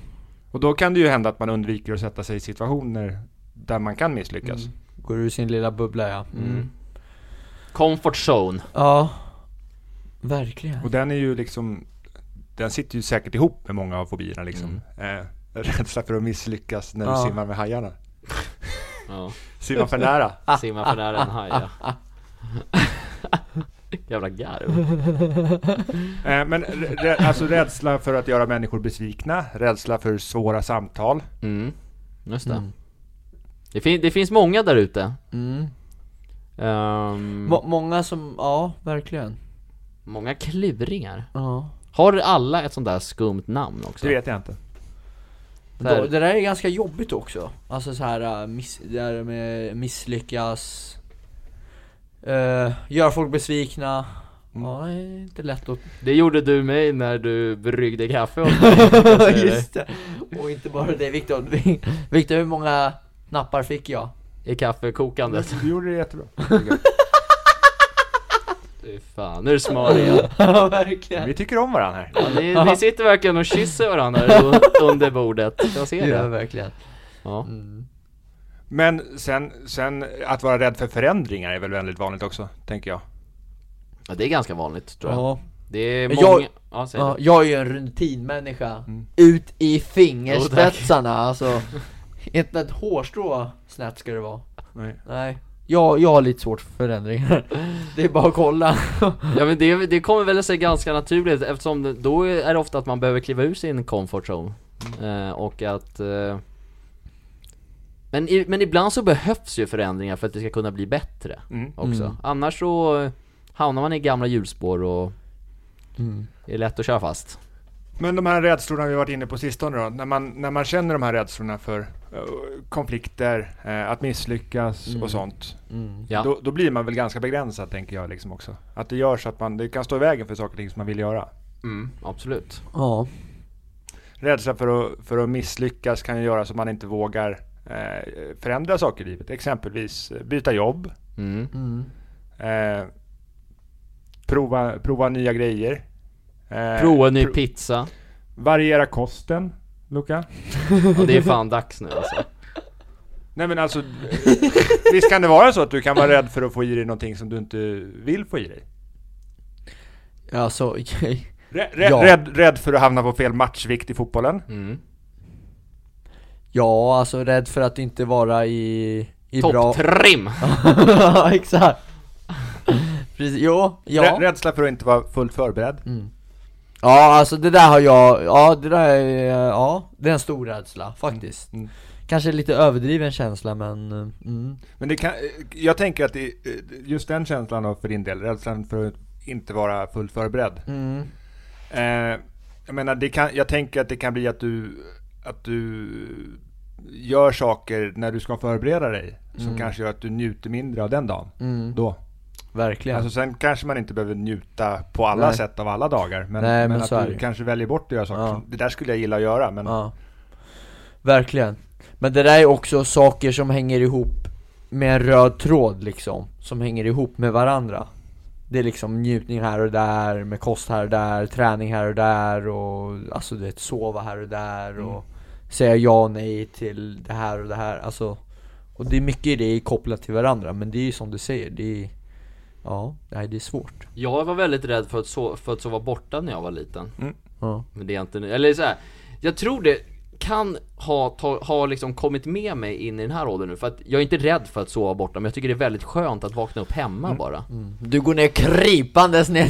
Och då kan det ju hända att man undviker att sätta sig i situationer där man kan misslyckas. Går ur sin lilla bubbla ja. Mm. Comfort zone. Ja. Verkligen. Och den är ju liksom, den sitter ju säkert ihop med många av fobierna liksom. Eh, rädsla för att misslyckas när du Ja. simmar med hajarna. Ja. Simma för nära. [laughs] Simma för nära en haj ja. [laughs] Jävla garv. Eh, men rä- rä- alltså rädsla för att göra människor besvikna, rädsla för svåra samtal. Mm. Just det. Det, fin- det finns många där ute. Ehm, Må- många som, ja verkligen många kluringar. Ja Har alla ett sånt där skumt namn också? Det vet jag inte. Så här- Då, Det där är ganska jobbigt också, alltså så här, äh, miss, det där med misslyckas eh, Gör folk besvikna Ja, det är inte lätt att... [laughs] Det gjorde du mig när du bryggde kaffe åt mig. kan jag säga dig. Just det! Och inte bara det Viktor, Viktor hur många nappar fick jag? I kaffekokandet. Du gjorde det jättebra. Fy fan, nu är det smör igen. Ja [laughs] verkligen! Vi tycker om varandra här. Ja, ni, ni sitter verkligen och kysser varandra u- [laughs] under bordet. Jag ser Ja det. verkligen Ja. Men sen, sen att vara rädd för förändringar är väl väldigt vanligt också, tänker jag. Ja, det är ganska vanligt tror jag. Ja, Det är Men många... jag- Ja, säg ja, det. jag är ju en rutinmänniska Ut i fingerspetsarna alltså [laughs] Inte ett hårstrå snett ska det vara Nej. Nej, jag, jag har lite svårt för förändringar Det är bara att kolla ja men det, det kommer väl sig ganska naturligt eftersom det, då är det ofta att man behöver kliva ur sin comfort zone. Eh, och att... Eh, men, i, men ibland så behövs ju förändringar för att vi ska kunna bli bättre Mm. också. Mm. Annars så eh, hamnar man i gamla hjulspår och Mm. är lätt att köra fast. Men de här rädslorna vi varit inne på sistone då, när man, när man känner de här rädslorna för eh, konflikter, eh, att misslyckas och sånt. Mm. Ja. Då, då blir man väl ganska begränsad tänker jag liksom också. Att det gör så att man, det kan stå i vägen för saker och ting som man vill göra. Mm, absolut. Ja, Rädsla för att, för att misslyckas kan ju göra så att man inte vågar eh, förändra saker i livet. Exempelvis eh, byta jobb, Mm. eh, prova, prova nya grejer. eh, Prova en ny pro- pizza. Variera kosten, Luca. Ja, det är fan dags nu alltså. Nej men alltså, visst kan det vara så att du kan vara rädd för att få i dig någonting som du inte vill få i dig? alltså Rä- rä- Ja. rädd, rädd för att hamna på fel matchvikt i fotbollen? Mm. Ja, alltså rädd för att inte vara i, i bra... Topptrim! [laughs] Ja, [laughs] exakt! Precis, jo, ja Rä- rädsla för att inte vara fullt förberedd? Ja, alltså det där har jag, ja det där är, ja, det är en stor rädsla faktiskt Mm. Kanske lite överdriven känsla men, eh, mm. Men det kan, jag tänker att det, just den känslan då för din del, rädslan för att inte vara fullt förberedd. Mm. Eh, jag menar, det kan, jag tänker att det kan bli att du, att du gör saker när du ska förbereda dig som Mm. kanske gör att du njuter mindre av den dagen. Då. verkligen Alltså sen kanske man inte behöver njuta på alla Nej. sätt av alla dagar. Men, Nej, men, men så är att det du ju. kanske väljer bort att göra saker. Ja. som, Det där skulle jag gilla att göra men Ja, verkligen. Men det där är också saker som hänger ihop med en röd tråd liksom, som hänger ihop med varandra. Det är liksom njutning här och där, med kost här och där, träning här och där och alltså du vet, sova här och där Mm. och säga ja och nej till det här och det här, alltså. Och det är mycket i det kopplat till varandra, men det är ju som du säger, det är, ja, nej det är svårt. Jag var väldigt rädd för att, so- för att sova borta när jag var liten. Mm. Ja. Men det är inte nu. Eller så här, jag tror det kan ha, ta, ha liksom kommit med mig in i den här åldern nu. För att jag är inte rädd för att sova borta, men jag tycker det är väldigt skönt att vakna upp hemma Mm. bara. Du går ner krypandes ner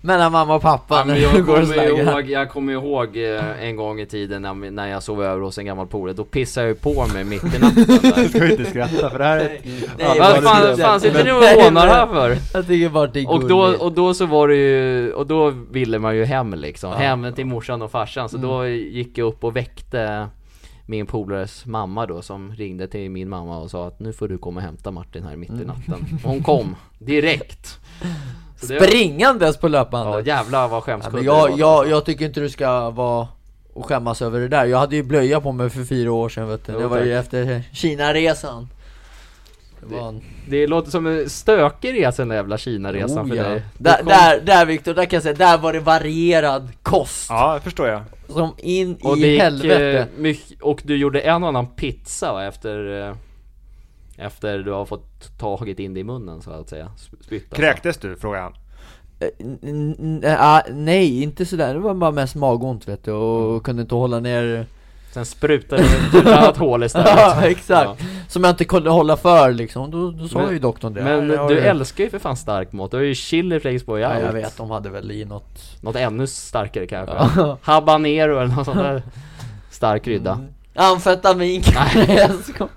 [laughs] mellan mamma och pappa Mm. Ja, men när jag, du [laughs] går och kommer slaggar. ihåg, jag kommer ihåg eh, en gång i tiden när, när jag sov över hos en gammal polare, då pissade jag ju på mig mitt i [laughs] natten där. ska vi inte skratta för det här är ett- Nej, Vad fan, men- fan sitter ni Nej, och hånar men- här för? Jag tycker bara det är Och då, och då så var det ju, och då ville man ju hem liksom, hem till morsan och farsan så då Mm. gick jag upp och väckte min polares mamma då som ringde till min mamma och sa att nu får du komma och hämta Martin här mitt i Mm. natten. Och hon [laughs] kom, direkt! Så det- Springandes på Ja löpbandet! jävlar vad Ja, skämskudde men det jag, var. jag, jag tycker inte du ska vara och skämmas över det där, jag hade ju blöja på mig för fyra år sedan vet du. Jo, Det var ju tack. efter Kina-resan Det var en... Det låter som en stökig resa den där jävla Kina-resan för Oh, ja. dig. Du Där, kom- där, där Viktor, där kan jag säga, där var det varierad kost Ja, det förstår jag. Som in och det i gick, helvete eh, mycket- och du gjorde en och annan pizza va, efter eh, efter du har fått tagit in det i munnen så att säga, Sp- spytt alltså. Kräktes du? frågade han. Eh, N- n- n- ah, Nej, inte sådär, det var bara mest magont vet du Mm. och kunde inte [laughs] hålla ner Sen sprutade det ut ett [laughs] annat hål istället Ja, exakt! Som jag inte kunde hålla för liksom, då, då sa Men- ju doktorn det Men Ja, det har du jag- älskar ju för fan stark mat, du har ju chili i Flexborg Ja, allt jag vet, de hade väl i något Något ännu starkare kanske Habanero eller något sånt Mm. där Stark krydda [laughs] Amfetamin kanske jag skojar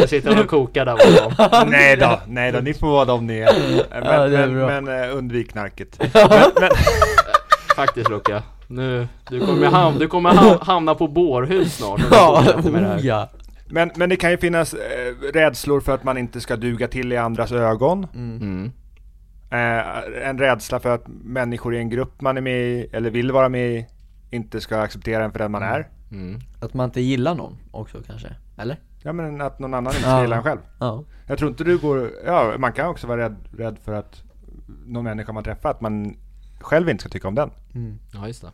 Där sitter de och kokar där bakom. Nej då, nej då, ni får vara de ni är. Men, Ja, det är bra. men, men eh, undvik knarket. Men, men, Faktiskt Luca. Nu, du kommer, ham- du kommer ham- hamna på bårhus snart. om du Ja, fortsätter med det här. oh, ja. men, men det kan ju finnas eh, rädslor för att man inte ska duga till i andras ögon. Mm. Eh, en rädsla för att människor i en grupp man är med i, eller vill vara med i, inte ska acceptera en för den man är. Mm. Att man inte gillar någon också kanske, eller? Ja men att någon annan inte Ja. ska gilla en själv. Ja Jag tror inte du går, ja man kan också vara rädd, rädd för att någon människa man träffar, att man själv inte ska tycka om den. Ja, just det.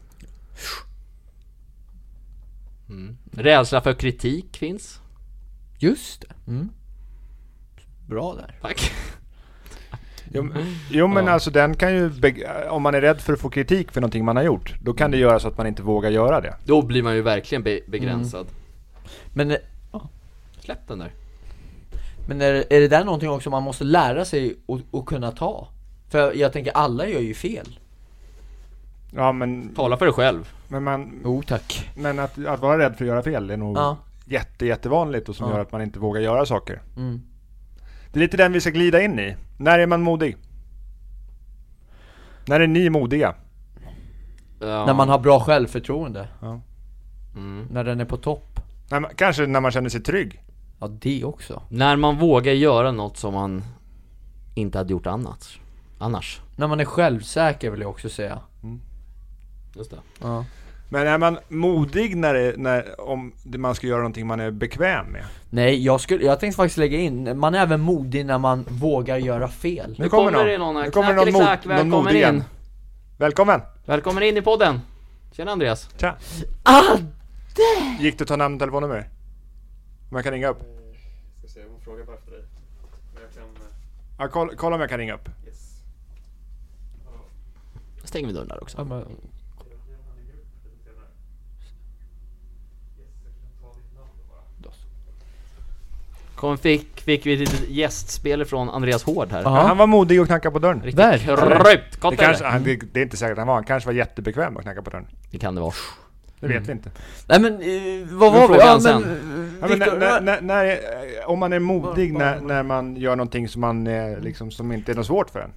Mm. Rädsla för kritik finns. Just det, mm. Bra där Tack. Jo, men- jo men Mm. Ja. alltså den kan ju, beg- om man är rädd för att få kritik för någonting man har gjort, då kan det Mm. göra så att man inte vågar göra det. Då blir man ju verkligen be- begränsad. Men, Släpp den där. men är, är det där någonting också man måste lära sig att, att kunna ta? För jag, jag tänker alla gör ju fel Ja men, Tala för dig själv. men, man, Jo tack men att, att vara rädd för att göra fel är nog Ja. jätte, jättevanligt och som Ja. gör att man inte vågar göra saker. Mm. Det är lite den vi ska glida in i. När är man modig? När är ni modiga? Ja. När man har bra självförtroende Ja. Mm. När den är på topp När man, kanske när man känner sig trygg? Ja det också När man vågar göra något som man inte hade gjort annars. Annars. När man är självsäker vill jag också säga Just det. Ja, Men är man modig när, det, när om det- man ska göra någonting man är bekväm med? Nej jag skulle, jag tänkte faktiskt lägga in, man är även modig när man vågar göra fel Nu kommer det någon här. Knackeliklack, välkommen in. Välkommen! Välkommen in i podden. Tjena Andreas. Tja! Ah! Gick det att ta namn och telefonnummer? Om jag kan ringa upp? Ska se, hon frågar bara efter dig. Men jag kan... eh, Ja, kolla, kolla om jag kan ringa upp. Yes. Stänger vi dörren där också. Ja, men, Han ligger upp lite senare. Yes, jag kan ta ditt namn då bara. Kom, fick, fick vi ett litet gästspel från Andreas Hård här. Ja. Han var modig och knackade på dörren. Riktigt Verkligen. kröpt Det, kotte, kanske, eller? han, det, det är inte säkert att han var, han kanske var jättebekväm att knacka på dörren. Det kan det vara. Det vet vi inte. Nej men, eh, vad Nu var vi? frågar Ja han men, sen. Ja, eh, men när, Viktor, när, när, när, är- om man är modig Var- när, när man gör någonting som, man, eh, liksom, som inte är något svårt för en.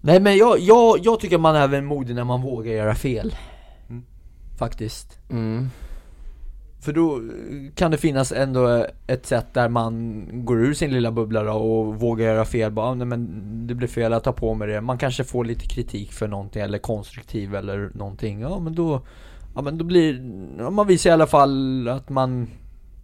Nej men jag, jag, jag tycker man är även modig när man vågar göra fel Mm. Faktiskt Mm. För då eh, kan det finnas ändå eh, ett sätt där man går ur sin lilla bubbla då och vågar göra fel bara, "Ah, nej men det blir fel, jag tar på mig det Man kanske får lite kritik för någonting eller konstruktiv eller någonting Ja men då, ja men då blir, ja, man visar i alla fall att man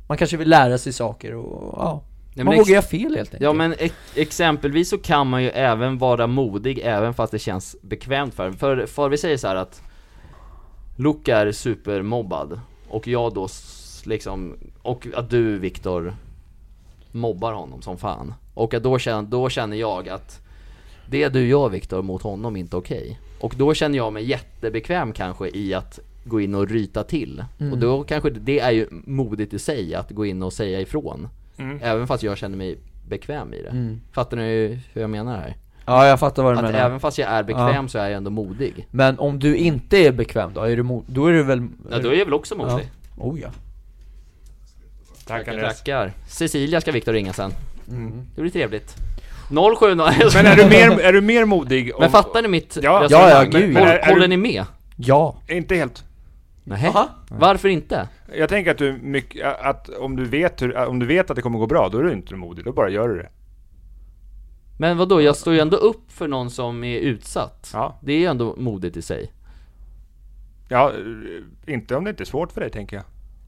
Man kanske vill lära sig saker och ja Nej, Man men vågar ex- göra fel helt enkelt ja men ex- exempelvis så kan man ju även vara modig även fast det känns bekvämt för en. För, för vi säger så här att Luca är supermobbad och jag då s- liksom, och att du Viktor mobbar honom som fan. Och att då, känner, då känner jag att det du gör Viktor mot honom är inte okej. Och då känner jag mig jättebekväm kanske i att gå in och ryta till. Mm. Och då kanske det- det är ju modigt i sig att gå in och säga ifrån. Mm. Även fast jag känner mig bekväm i det. Fattar ni hur jag menar här? Ja Mm. jag fattar vad du Att menar även fast jag är bekväm så är jag ändå modig. Men om du inte är bekväm då, är du mo- då är du väl... Ja, då är jag väl också modig. Oh ja. Tack Tackar, Andreas. tackar. Cecilia ska Viktor ringa sen. Mm. Det blir trevligt. 070... Men, Men är du mer, är du mer modig? [laughs] Om, men fattar ni mitt Ja. resonemang? Ja, ja, gud. Håll- Men är- är Håller du- ni med? Ja. Inte helt. Nej. Aha. Varför inte? Jag tänker att, du är mycket, att om, du vet hur, om du vet att det kommer gå bra, då är du inte modig. Då bara gör du det. Men vad då? jag står ju ändå upp för någon som är utsatt. Ja. Det är ju ändå modigt i sig. Ja, eh, inte om det inte är svårt för dig tänker jag.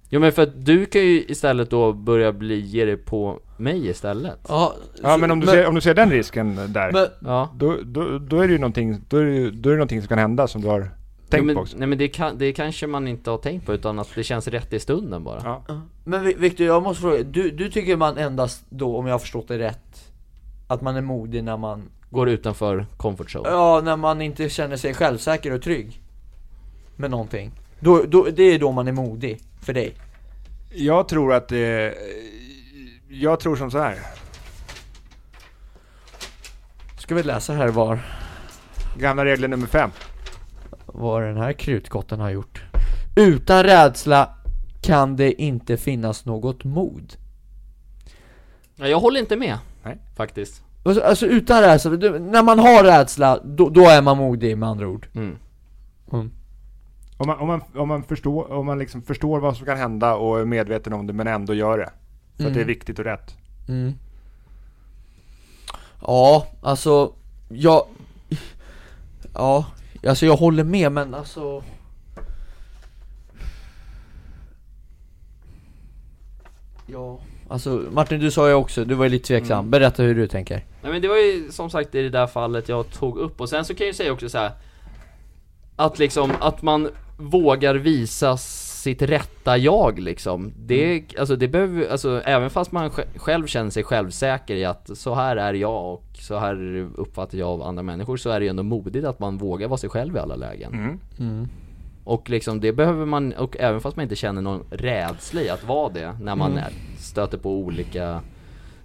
Jo men för att du kan ju istället då börja bli, ge dig på mig istället. Ja, Ja, men om du, ser, om du ser den risken där, Men, Ja. då, då, då är det ju någonting, då är det, ju- då är det någonting som kan hända som du har tänkt jo, men, på också. Nej men det, kan, det kanske man inte har tänkt på utan att det känns rätt i stunden bara. Ja. men Vi- Victor, jag måste fråga. Du, du tycker man endast då, om jag har förstått det rätt, att man är modig när man... Går utanför comfort zone. Ja, när man inte känner sig självsäker och trygg. Med någonting. Då, då, det är då man är modig. För dig. Jag tror att det, jag tror som så här. Ska vi läsa här vad, Gamla regler nummer fem. vad den här krutgotten har gjort. Utan rädsla kan det inte finnas något mod. Ja, jag håller inte med. Nej. Faktiskt. Alltså, alltså utan rädsla, du, när man har rädsla, då, då är man modig med andra ord Mm. Om man, om man, om man, förstår, om man liksom förstår vad som kan hända och är medveten om det men ändå gör det. För att det är Mm. viktigt och rätt. mm. Ja, alltså, jag... Ja, alltså jag håller med men alltså... Ja, alltså Martin du sa ju också, du var ju lite tveksam, Mm. berätta hur du tänker Nej men det var ju som sagt i det där fallet jag tog upp och sen så kan jag ju säga också så här Att liksom, att man vågar visa sitt rätta jag liksom Det, alltså det behöver, alltså även fast man sj- själv känner sig självsäker i att så här är jag och så här uppfattar jag av andra människor så är det ju ändå modigt att man vågar vara sig själv i alla lägen Mm. Och liksom det behöver man, och även fast man inte känner någon rädsla i att vara det när man Mm. är, stöter på olika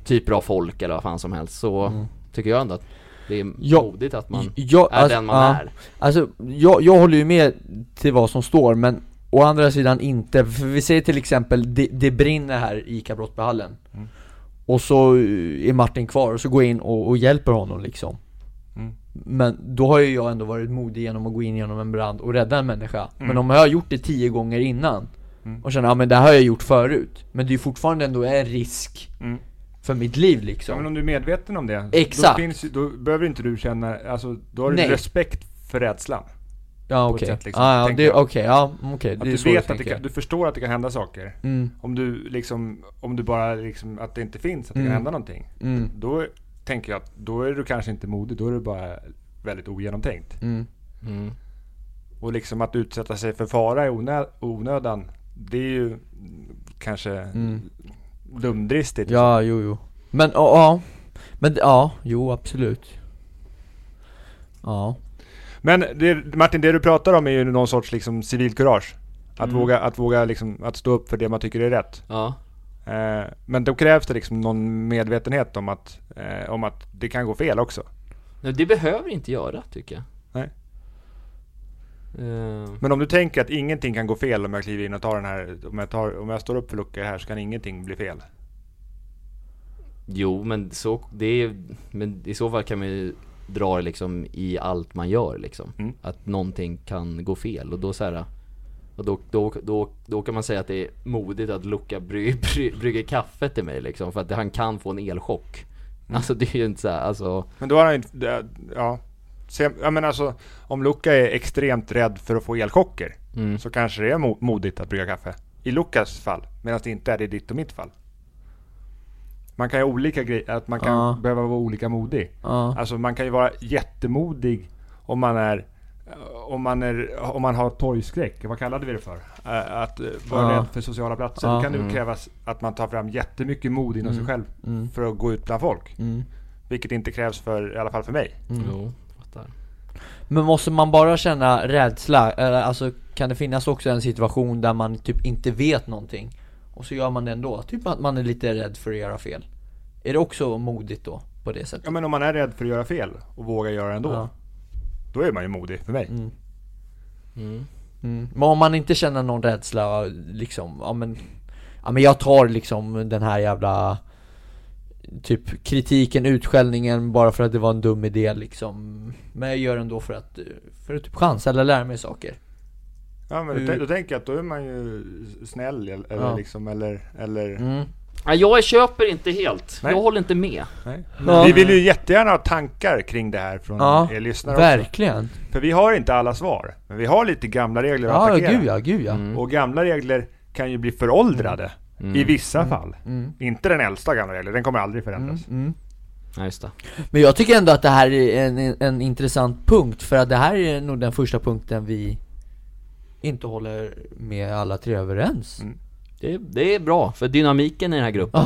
typer av folk eller vad fan som helst så tycker jag ändå att det är Mm. Ja. modigt att man jag, är den man ja. är. Alltså, jag, jag håller ju med till vad som står, men å andra sidan inte. För vi säger till exempel, det, det brinner här i ICA Brottbyhallen. Mm. Och så eh, är Martin kvar, och så går jag in och, och hjälper honom liksom. Mm. Men då har ju jag ändå varit modig genom att gå in genom en brand och rädda en människa. Mm. Men om jag har gjort det tio gånger innan, och känner ja men det här har jag gjort förut. Men det är ju fortfarande ändå en risk Mm. för mitt liv Ja, men liksom. om du är medveten om det. Exakt. Då, finns, ju- då behöver inte du känna, alltså då har du Nej. respekt för rädslan. Ja på ett okej, sätt, liksom, ah, ja, tänker det- jag. okej, ja okej. Att Det är du så jag vet att det tänker. kan, du förstår att det kan hända saker. Mm, Om du liksom, om du bara liksom, att det inte finns, att det Mm. kan hända någonting. mm, Då tänker jag att, då är du kanske inte modig, då är du bara väldigt ogenomtänkt. mm. Mm. Och liksom att utsätta sig för fara i onö, onödan, det är ju kanske Mm. dumdristigt. Ja, jo, jo. Men ja, ja. Men ja, jo absolut. Ja. Men det, Martin, det du pratar om är ju någon sorts liksom civilkurage. Att Mm. våga, att våga liksom, att stå upp för det man tycker är rätt. Ja. Eh, men då krävs det liksom någon medvetenhet om att, eh, om att det kan gå fel också. Nej, det behöver inte göra tycker jag. Nej. Eh, Men om du tänker att ingenting kan gå fel om jag kliver in och tar den här, om jag, tar, om jag står upp för luckan här så kan ingenting bli fel. jo men så, det är, men i så fall kan man ju dra det liksom i allt man gör liksom. Mm. Att någonting kan gå fel och då så här. Och då, då, då, då kan man säga att det är modigt att Luca bry, bry, brygger kaffe till mig liksom, för att han kan få en elchock. Mm. Alltså det är ju inte såhär, alltså Men då har han ju inte- det- ja. Så jag, jag menar alltså, om Luca är extremt rädd för att få elchocker mm. så kanske det är mo- modigt att brygga kaffe. I Lukas fall, medan det inte är det i ditt och mitt fall. Man kan ju ha olika grejer, att man kan Ja. behöva vara olika modig. Ja. Alltså man kan ju vara jättemodig om man är om man, är, om man har torgskräck, vad kallade vi det för? Eh, Att eh, vara Ja. rädd för sociala platser. Ja. Då kan det ju krävas att man tar fram jättemycket mod inom sig själv Mm. för att gå ut bland folk. Mm. Vilket inte krävs för, i alla fall för mig. Jo, Mm. fattar. Men måste man bara känna rädsla? Eller alltså kan det finnas också en situation där man typ inte vet någonting? Och så gör man det ändå? Typ att man är lite rädd för att göra fel. Är det också modigt då? På det sättet? Ja men om man är rädd för att göra fel och vågar göra det ändå. Ja. Då är man ju modig för mig. Mm. Mm. Men om man inte känner någon rädsla liksom, ja men Ja men jag tar liksom den här jävla Typ kritiken, utskällningen bara för att det var en dum idé liksom Men jag gör det ändå för att, eh, för att typ chansa eller lära mig saker Ja men då, Hur- tän- då tänker jag att då är man ju snäll el- eller Ja. liksom eller, eller mm. Nej, jag köper inte helt, Nej. jag håller inte med. nej. Ja. Vi vill ju jättegärna ha tankar kring det här från Ja, er lyssnare också. Verkligen! För vi har inte alla svar, men vi har lite gamla regler att Ja attackera. gud ja, gud ja Mm. Och gamla regler kan ju bli föråldrade i vissa fall. mm. Inte den äldsta gamla regeln, den kommer aldrig förändras. Mm. Ja, just det. Men jag tycker ändå att det här är en, en, en intressant punkt för att det här är nog den första punkten vi inte håller med alla tre överens Mm. Det, det är bra för dynamiken i den här gruppen.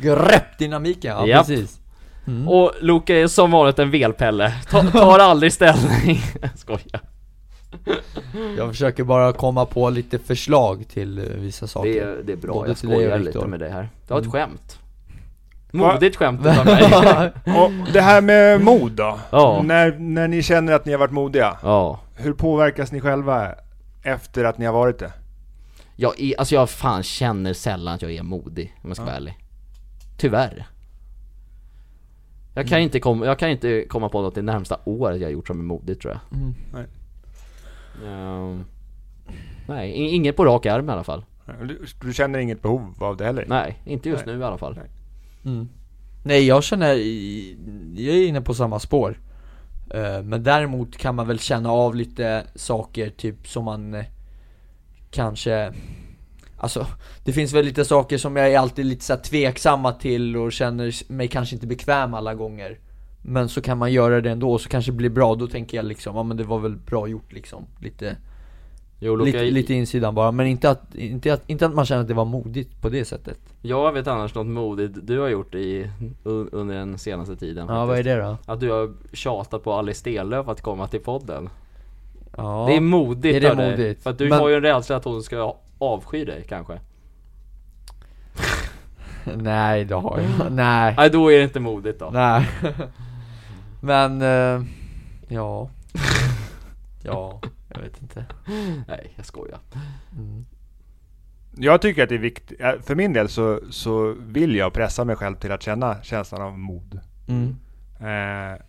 Greppdynamiken, ja Japp. precis Mm. Och Luca är som vanligt en velpelle, Ta, [laughs] tar aldrig ställning. [laughs] Jag Skojar. Jag försöker bara komma på lite förslag till eh, vissa saker Det är, det är bra, Både jag till dig och skojar Viktor. Mm. lite med dig här. Det var ett skämt. Va? Modigt [laughs] skämt utav mig. Mm. Och det här med mod då? Ja. När, när ni känner att ni har varit modiga, Ja. hur påverkas ni själva efter att ni har varit det? Jag är, alltså jag fan känner sällan att jag är modig om jag ska vara ärlig Tyvärr jag Mm. kan, inte kom, jag kan inte komma på något det närmsta året jag gjort som är modigt tror jag Mm. Nej. Ehm, Nej, i- inget på rak arm i alla fall Du, du känner inget behov av det heller? Nej, inte just Nej. nu i alla fall Nej. Mm. Nej jag känner, jag är inne på samma spår Eh, Men däremot kan man väl känna av lite saker typ som man eh, kanske Alltså det finns väl lite saker som jag är alltid lite så här tveksamma till och känner mig kanske inte bekväm alla gånger Men så kan man göra det ändå och så kanske det blir bra, då tänker jag liksom, ja men det var väl bra gjort liksom Lite, Jo, Luka, lite, lite insidan bara, men inte att, inte, att, inte att man känner att det var modigt på det sättet Jag vet annars något modigt du har gjort i, un- under den senaste tiden Ja vad är faktiskt. det då? Att du har tjatat på Alice Stenlöf att komma till podden Ja. Det är modigt Är det av dig, modigt? För att du Men- har ju en rädsla att hon ska avsky dig kanske [laughs] Nej det har jag Nej, Nej då är det inte modigt då nej [laughs] Men, eh, ja [laughs] Ja, jag vet inte Nej jag skojar mm. Jag tycker att det är viktigt, eh, för min del så, så vill jag pressa mig själv till att känna känslan av mod. Mm. Eh,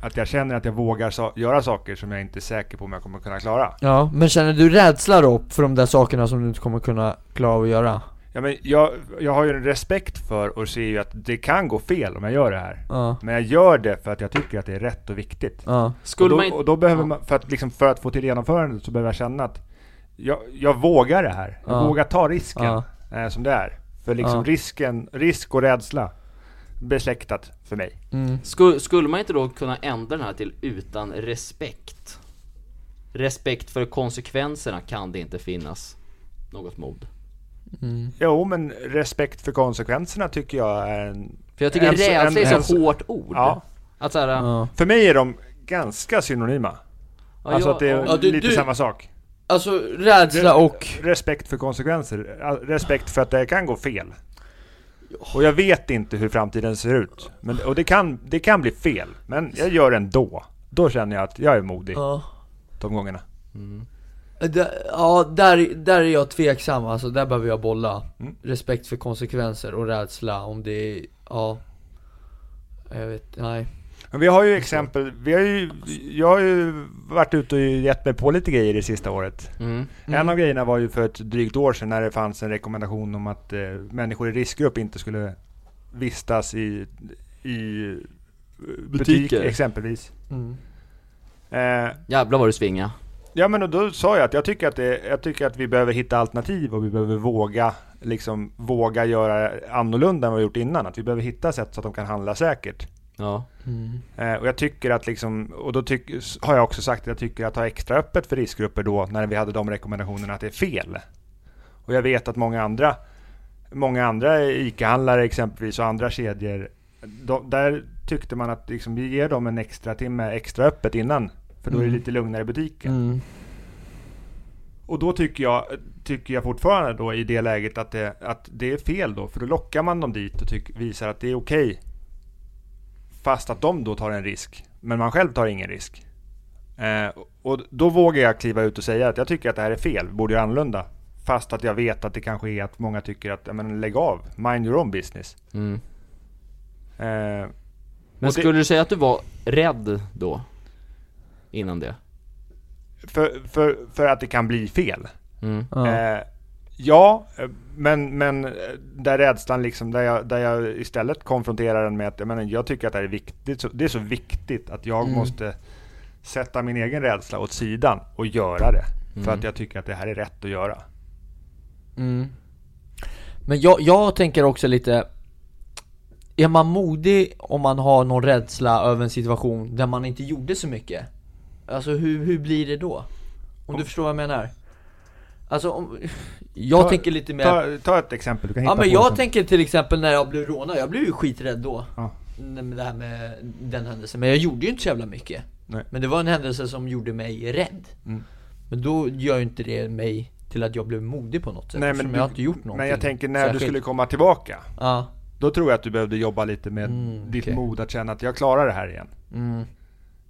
att jag känner att jag vågar sa- göra saker som jag inte är säker på om jag kommer kunna klara. Ja, men känner du rädsla då för de där sakerna som du inte kommer kunna klara av att göra? Ja, men jag, jag har ju en respekt för och ser ju att det kan gå fel om jag gör det här. Ja, Men jag gör det för att jag tycker att det är rätt och viktigt. ja, Skulle och, man då, inte... och då behöver ja. man, för att, liksom, för att få till genomförandet så behöver jag känna att jag, jag vågar det här. Jag Ja. vågar ta risken Ja. eh, som det är. För liksom Ja. risken, risk och rädsla besläktat för mig. mm. Skulle, skulle man inte då kunna ändra den här till utan respekt? Respekt för konsekvenserna kan det inte finnas något mod Mm. Jo, men respekt för konsekvenserna tycker jag är en... För jag tycker En- rädsla är en- ett så en- hårt ord Ja. Att såhär, ja, Ja. För mig är de ganska synonyma. alltså jag- att det är du- lite du- samma sak. Alltså rädsla och... Respekt för konsekvenser. eh, Respekt för att det kan gå fel. Och jag vet inte hur framtiden ser ut. Men, och det kan, det kan bli fel. Men jag gör det ändå. Då känner jag att jag är modig. Ja, de gångerna. D- ja där, där är jag tveksam alltså, där behöver jag bolla Mm. Respekt för konsekvenser och rädsla om det är, ja Jag vet, nej Men vi har ju exempel, vi har ju, jag har ju varit ute och gett mig på lite grejer det sista året. mm. En av grejerna var ju för ett drygt år sedan när det fanns en rekommendation om att eh, människor i riskgrupp inte skulle vistas i, i eh, butik, Butiker. exempelvis. Mm. Eh, Jävlar vad du svingar ja men och då sa jag att jag tycker att, det, jag tycker att vi behöver hitta alternativ och vi behöver våga, liksom, våga göra annorlunda än vad vi gjort innan. Att vi behöver hitta sätt så att de kan handla säkert. Ja, Mm. Eh, Och jag tycker att liksom, och då tyck, s- har jag också sagt att jag tycker att ha extra öppet för riskgrupper då när vi hade de rekommendationerna att det är fel. Och jag vet att många andra, många andra ICA-handlare exempelvis och andra kedjor, de, där tyckte man att liksom, vi ger dem en extra timme extra öppet innan, för då är det Mm. lite lugnare i butiken. Mm. Och då tycker jag, tycker jag fortfarande då i det läget att det, att det är fel då, för då lockar man dem dit och tyck, visar att det är okej. Fast att de då tar en risk, men man själv tar ingen risk. Eh, och då vågar jag kliva ut och säga att jag tycker att det här är fel, vi borde göra annorlunda. Fast att jag vet att det kanske är att många tycker att, ja, men lägg av, mind your own business. mm. Eh, Men Och det- skulle du säga att du var rädd då? Innan det? för, för, för att det kan bli fel. Mm. Ja. Eh, ja, eh, men, men eh, där rädslan liksom, där jag, där jag istället konfronterar den med att jag, menar, jag tycker att det här är viktigt. så- Det är så viktigt att jag Mm. måste sätta min egen rädsla åt sidan och göra det. För Mm. att jag tycker att det här är rätt att göra. Mm. Men jag, jag tänker också lite Är man modig om man har någon rädsla över en situation där man inte gjorde så mycket? Alltså hur, hur blir det då? Om, du förstår vad jag menar? Alltså om, jag Ta- tänker lite mer Ta, ta ett exempel, du kan hitta Ja men på jag det sen. tänker till exempel när jag blev rånad, jag blev ju skiträdd då Ja. Nej, men Det här med den händelsen, men jag gjorde ju inte så jävla mycket Nej. Men det var en händelse som gjorde mig rädd Mm. Men då gör ju inte det mig till att jag blev modig på något sätt Nej, eftersom jag men, har du, inte gjort någonting men jag tänker när särskilt. du skulle komma tillbaka. Ja, Då tror jag att du behövde jobba lite med Mm, ditt okej. mod att känna att jag klarar det här igen. mm,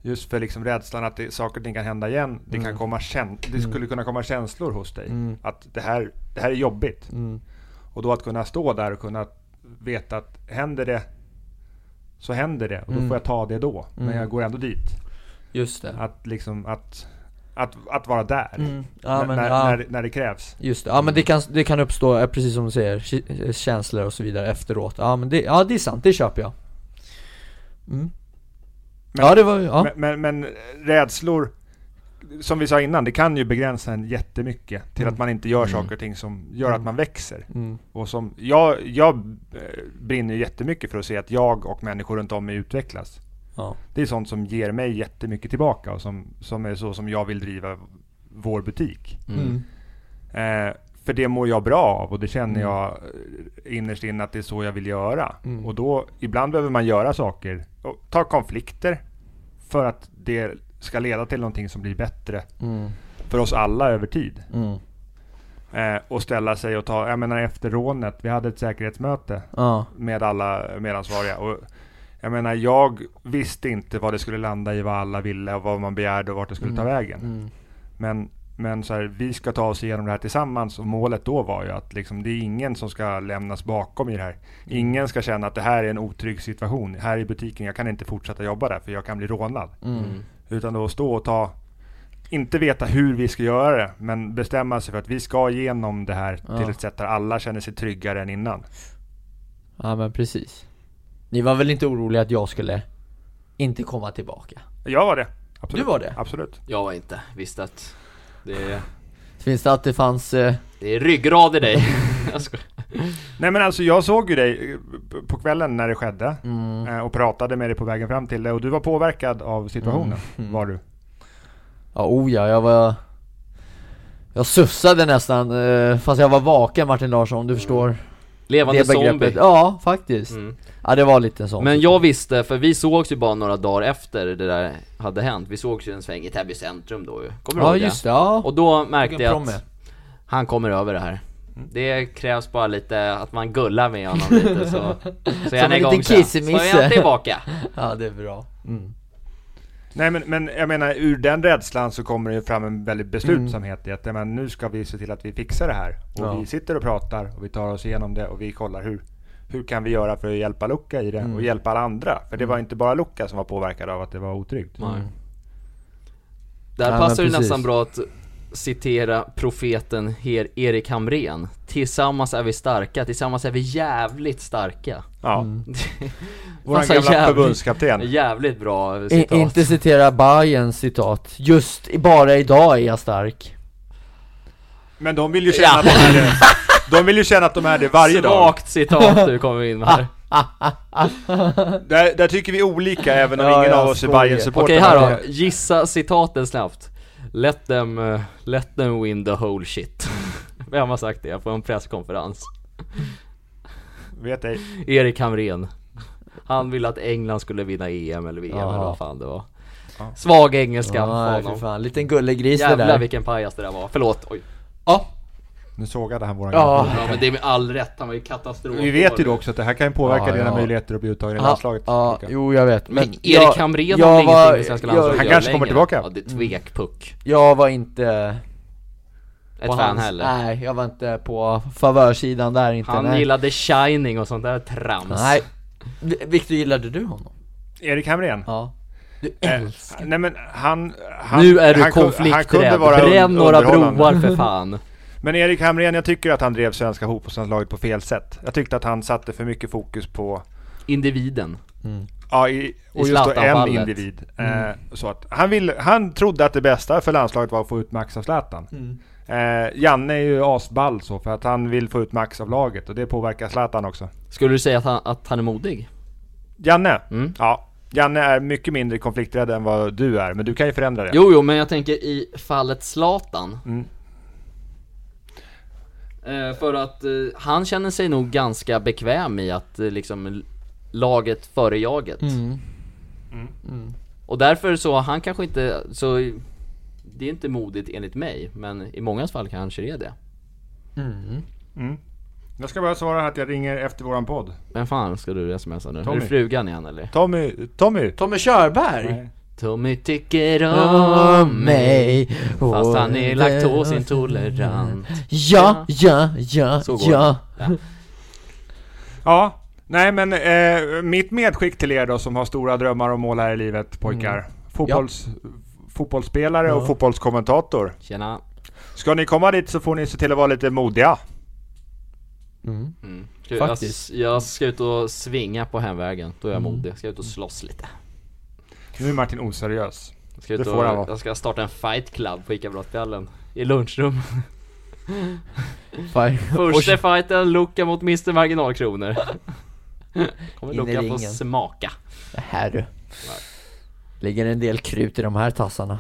Just för liksom rädslan att det, saker och ting kan hända igen. Det, kan komma kän- det skulle kunna komma känslor hos dig. Mm. Att det här, det här är jobbigt. mm, Och då att kunna stå där och kunna veta att händer det så händer det och då Mm. får jag ta det då. Men Mm. jag går ändå dit. Just det. Att liksom att, att, att vara där. Mm. Ja, N- men, när, ja. när, när det krävs. Just det, ja men det kan, det kan uppstå, eh, precis som du säger, ki- eh, känslor och så vidare efteråt Ja men det, ja det är sant, det köper jag mm. Men- Ja det var, ja, Men, men, men rädslor, som vi sa innan, det kan ju begränsa en jättemycket till Mm. att man inte gör Mm. saker och ting som gör att Mm. man växer. mm. Och som, jag, jag eh, brinner ju jättemycket för att se att jag och människor runt om mig utvecklas. ja. Det är sånt som ger mig jättemycket tillbaka och som, som är så som jag vill driva vår butik. Mm. Eh, för det mår jag bra av och det Mm. känner jag eh, innerst inne att det är så jag vill göra. Mm. Och då, ibland behöver man göra saker, och ta konflikter för att det ska leda till någonting som blir bättre Mm. för oss alla över tid. Mm. Eh, och ställa sig och ta, jag menar efter rånet, vi hade ett säkerhetsmöte Ja. med alla medansvariga. Och jag menar, jag visste inte vad det skulle landa i, vad alla ville och vad man begärde och vart det skulle ta vägen. Mm. Men, men så här, vi ska ta oss igenom det här tillsammans och målet då var ju att liksom, det är ingen som ska lämnas bakom i det här. Mm. Ingen ska känna att det här är en otrygg situation. Här i butiken, jag kan inte fortsätta jobba där för jag kan bli rånad. Mm. Utan då stå och ta, inte veta hur vi ska göra det, men bestämma sig för att vi ska igenom det här Ja. till ett sätt där alla känner sig tryggare än innan. ja men precis Ni var väl inte oroliga att jag skulle inte komma tillbaka? Jag var det. Absolut. Du var det? Absolut. Jag var inte, visste att det är, Finns det att det fanns, eh, det är ryggrad i dig Jag skojar. Nej men alltså jag såg ju dig eh, på kvällen när det skedde mm, eh, och pratade med dig på vägen fram till det och du var påverkad av Mm. situationen. Var du? ja oh ja, jag var Jag sussade nästan, eh, fast jag var vaken Martin Larsson om du förstår Levande det zombie begreppet Ja, faktiskt Mm. Ja det var lite sånt Men jag visste, för vi sågs ju bara några dagar efter det där hade hänt Vi sågs ju en sväng i Täby centrum då ju, kommer du Ja ihåg det? just det, ja Och då märkte Vilken jag promme. att han kommer över det här Det krävs bara lite, att man gullar med honom [laughs] lite så Så är en han igång liten sen. kissemisse. Så är han tillbaka Ja det är bra Nej men, men jag menar ur den rädslan så kommer det ju fram en väldigt beslutsamhet i att ja, men, nu ska vi se till att vi fixar det här. Och Ja. vi sitter och pratar och vi tar oss igenom det och vi kollar hur, hur kan vi göra för att hjälpa Luca i det Mm. och hjälpa alla andra. För det var inte bara Luca som var påverkad av att det var otryggt. Mm. Där Ja, passar men det precis. nästan bra att citera profeten her Erik Hamrén Tillsammans är vi starka, tillsammans är vi jävligt starka Ja. Vår Massa gamla Mm. jävligt- [laughs] förbundskapten. Jävligt bra I, citat inte citera Bajens citat, just i- bara idag är jag stark Men de vill ju känna att de [laughs] är det. De vill ju känna att de är det varje dag. Svagt citat du kommer in med här Där, där tycker vi olika även om Ja, ingen ja, av oss är skojar. bayern Okej supporter här då, gissa citaten snabbt Let them, eh, let them win the whole shit [laughs] Vem har sagt det på en presskonferens? Vet ej. Erik Hamrén Han ville att England skulle vinna EM eller VM eller Jaha. vad fan det var Ja. Svag engelska på Ja, fy honom fan, liten gullegris det Jävlar där vilken pajas det där var, förlåt oj. Ja, Nu sågade han våran ja, Ja men det är med all rätt, han var ju katastrof Vi vet ju då också att det här kan ju påverka Ja, dina ja. möjligheter att bli uttagen i ja, landslaget. ja, Luka. jo jag vet Men Erik jag- Hamrén jag har väl var- ingenting med svenska landslaget Han att kanske göra kommer längre. tillbaka. Ja det är tvekpuck Jag var inte Ett på fan hans- heller Nej, jag var inte på favörsidan där inte Han nej. gillade Shining och sånt där trams Nej Vi- Victor, gillade du honom? Erik Hamrén. Ja Du Eh, älskar Nej men han... han nu är du han kun- han kunde konflikträdd, vara un- bränn några underhållande. broar för fan Men Erik Hamrén, jag tycker att han drev svenska fotbollslandslaget på fel sätt. Jag tyckte att han satte för mycket fokus på, Individen ja, i, och just då en Zlatan-fallet. Mm. individ. Eh, så att han, vill, han trodde att det bästa för landslaget var att få ut max av Zlatan. Mm. Eh, Janne är ju asball så, för att han vill få ut max av laget och det påverkar Zlatan också. Skulle du säga att han, att han är modig? Janne? Mm. Ja. Janne är mycket mindre konflikträdd än vad du är, men du kan ju förändra det. [laughs] Jo, jo, men jag tänker i fallet Zlatan Mm. eh, För att eh, han känner sig nog ganska bekväm i att eh, liksom l- laget före jaget Mm. Och därför så, han kanske inte, så det är inte modigt enligt mig, men i mångas fall kanske det är det Mm. Jag ska bara svara här att jag ringer efter våran podd. Vem fan ska du smsa nu? Är Tommy. det frugan igen eller? Tommy, Tommy! Tommy Körberg! Tommy tycker om om mig mig Mm. Fast han är Och- laktosintolerant Ja, ja, ja, Så går ja Ja, nej men eh, mitt medskick till er då som har stora drömmar och mål här i livet pojkar. Fotbolls, Fotbollsspelare och Ja. fotbollskommentator. Tjena. Ska ni komma dit så får ni se till att vara lite modiga. Mm. Mm. Ska, Faktiskt. Jag, jag ska ut och svinga på hemvägen, då är Mm. jag modig. Jag ska ut och slåss lite. Nu är Martin oseriös. Jag ska, ut Det och, får han vara. jag ska starta en fight club på ICA Brottbjällen. I lunchrum. [laughs] Fan. Första fighten, Luca mot Mr [laughs] Marginalkronor. Kommer In i Luca få ringen. smaka. Det här du. Ligger en del krut i de här tassarna.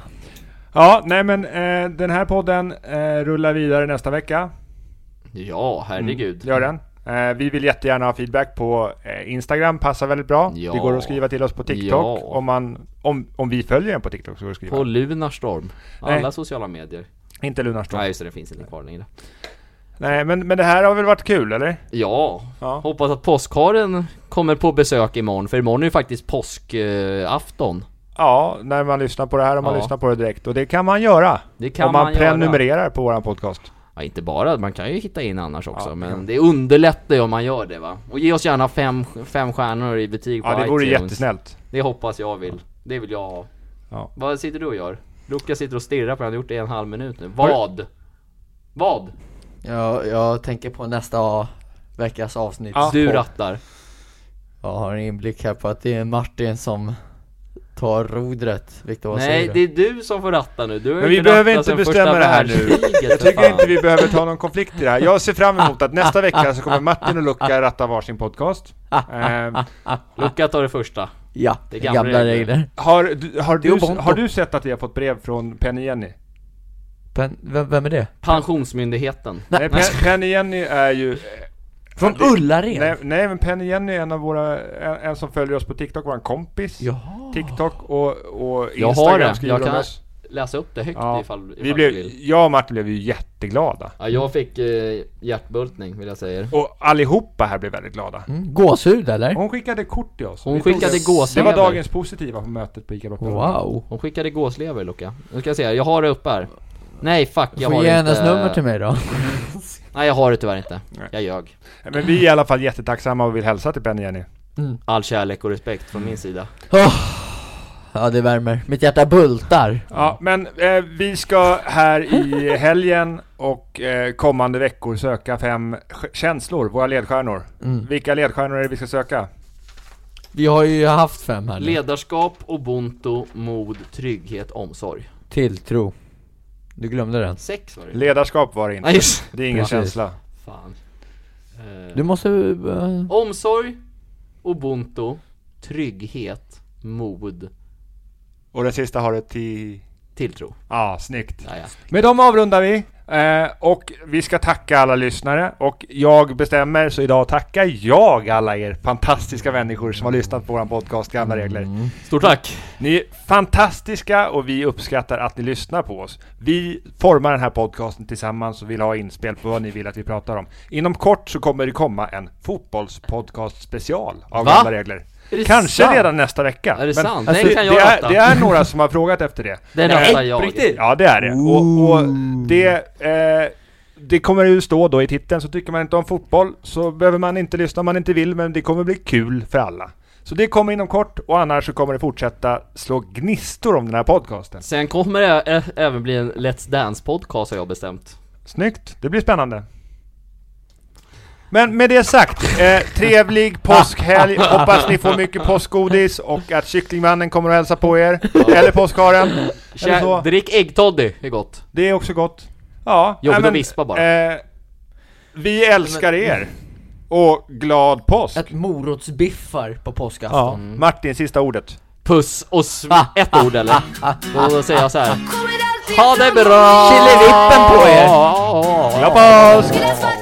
Ja, nej men eh, den här podden eh, rullar vidare nästa vecka. Ja, herregud. Gör den. Eh, vi vill jättegärna ha feedback på eh, Instagram, passar väldigt bra. Ja. Det går att skriva till oss på TikTok. Ja. Om, man, om, om vi följer en på TikTok så går det att skriva. På Lunarstorm. Alla Nej. sociala medier. Inte Lunarstorm. Nej Nej, just det, det finns inte kvar längre. men, men det här har väl varit kul eller? Ja, Ja. hoppas att påskharen kommer på besök imorgon. För imorgon är ju faktiskt påskafton. Ja, när man lyssnar på det här och man Ja. lyssnar på det direkt. Och det kan man göra. Det kan om man, man göra. prenumererar på våran podcast. Ja, inte bara, man kan ju hitta in annars också, Ja, men ja. det underlättar ju om man gör det va. Och ge oss gärna fem, fem stjärnor i betyg på Ja, det vore iTunes. jättesnällt. Det hoppas jag vill. Det vill jag ha. Ja. Vad sitter du och gör? Luca sitter och stirrar på den, han har gjort det i en halv minut nu. Vad? Vad? Jag, jag tänker på nästa veckas avsnitt. Ja. Du på. rattar. Jag har en inblick här på att det är Martin som tar rodret. Viktor, vad Nej, säger det du? är du som får ratta nu. Du har Men ju vi behöver rattat sedan inte första bestämma det här nu. världskriget, Jag för tycker fan. inte vi behöver ta någon konflikt i det här. Jag ser fram emot att nästa vecka så kommer Martin och Luca ratta varsin podcast. Eh, Luca tar det första. Ja, det det är är gamla gamla, regler. regler. har, du- har, Det är du, Ubuntu. har du sett att vi har fått brev från Penny Jenny? Pen, vem, vem är det? Pensionsmyndigheten. Nej, Pen, Penny Jenny är ju... eh, Från det- Ullared? Nej, nej men Penny Jenny är en av våra, en, en som följer oss på TikTok, våran kompis. Jaha. TikTok och, och Jag Instagram har det. skriver Jag de kan oss. läsa upp det högt Ja. ifall, ifall Vi du blev, vill. jag och Martin blev ju jätteglada. Ja, jag fick eh, hjärtbultning vill jag säga er. Och allihopa här blev väldigt glada. Mm, gåshud eller? Hon skickade kort till oss. Hon Vi tog skickade det. Det gåslever. var dagens positiva på mötet på ICA Brottbjörn. Wow. Hon skickade gåslever Luca. Nu ska jag se, jag har det uppe här. Nej fuck, Du jag får har ge det hennes inte. nummer till mig då. Nej jag har det tyvärr inte. Nej. Jag ljög. Men vi är i alla fall jättetacksamma och vill hälsa till Penny Jenny. All kärlek och respekt från min sida. Ja, det värmer. Mitt hjärta bultar. Ja, men eh, vi ska här i helgen och eh, kommande veckor söka fem sk- känslor, våra ledstjärnor. Vilka ledstjärnor är det vi ska söka? Vi har ju haft fem här nu. Ledarskap, ubuntu, mod, trygghet, omsorg. Tilltro. Du glömde den. Sex var det Ledarskap var det inte. Nej just Det är ingen Precis. känsla. Fan. Eh, Du måste... eh, Omsorg, ubuntu, trygghet, mod, Och den sista har ett till... tilltro. Ja, snyggt. Ja, ja. Med dem avrundar vi. Eh, och vi ska tacka alla lyssnare. Och jag bestämmer, så idag tackar jag alla er fantastiska människor som har lyssnat på våran podcast Gamla Regler. Stort tack! Ni är fantastiska och vi uppskattar att ni lyssnar på oss. Vi formar den här podcasten tillsammans och vill ha inspel på vad ni vill att vi pratar om. Inom kort så kommer det komma en fotbollspodcast special av Va? Gamla Regler. Är det Kanske sant? redan nästa vecka. Är det sant? Den det, kan jag det, är, ratta. det är några som har frågat efter det. Den Eh, rattar jag. Ja, det är det. Och, och det, eh, det kommer ju stå då i titeln, så tycker man inte om fotboll så behöver man inte lyssna om man inte vill, men det kommer bli kul för alla. Så det kommer inom kort och annars så kommer det fortsätta slå gnistor om den här podcasten. Sen kommer det ä- även bli en Let's Dance podcast har jag bestämt. Snyggt, det blir spännande. Men med det sagt, eh, trevlig påskhelg, hoppas ni får mycket påskgodis och att kycklingmannen kommer och hälsa på er. Eller påskharen. Eller Tja, så. drick äggtoddy, det är gott. Det är också gott. Ja, Jobbigt nej, men, att vispa bara. Eh, vi älskar er. Och glad påsk! Ett morotsbiffar på Ja. påskafton. Mm. Martin, sista ordet. Puss och sv- ett ord eller? ah, Då, då säger jag så här. Kommer alltid Ha det bra! Chilivippen på er! Ja, ja, ja. Glad påsk! Skulle jag svara Ah, Ah,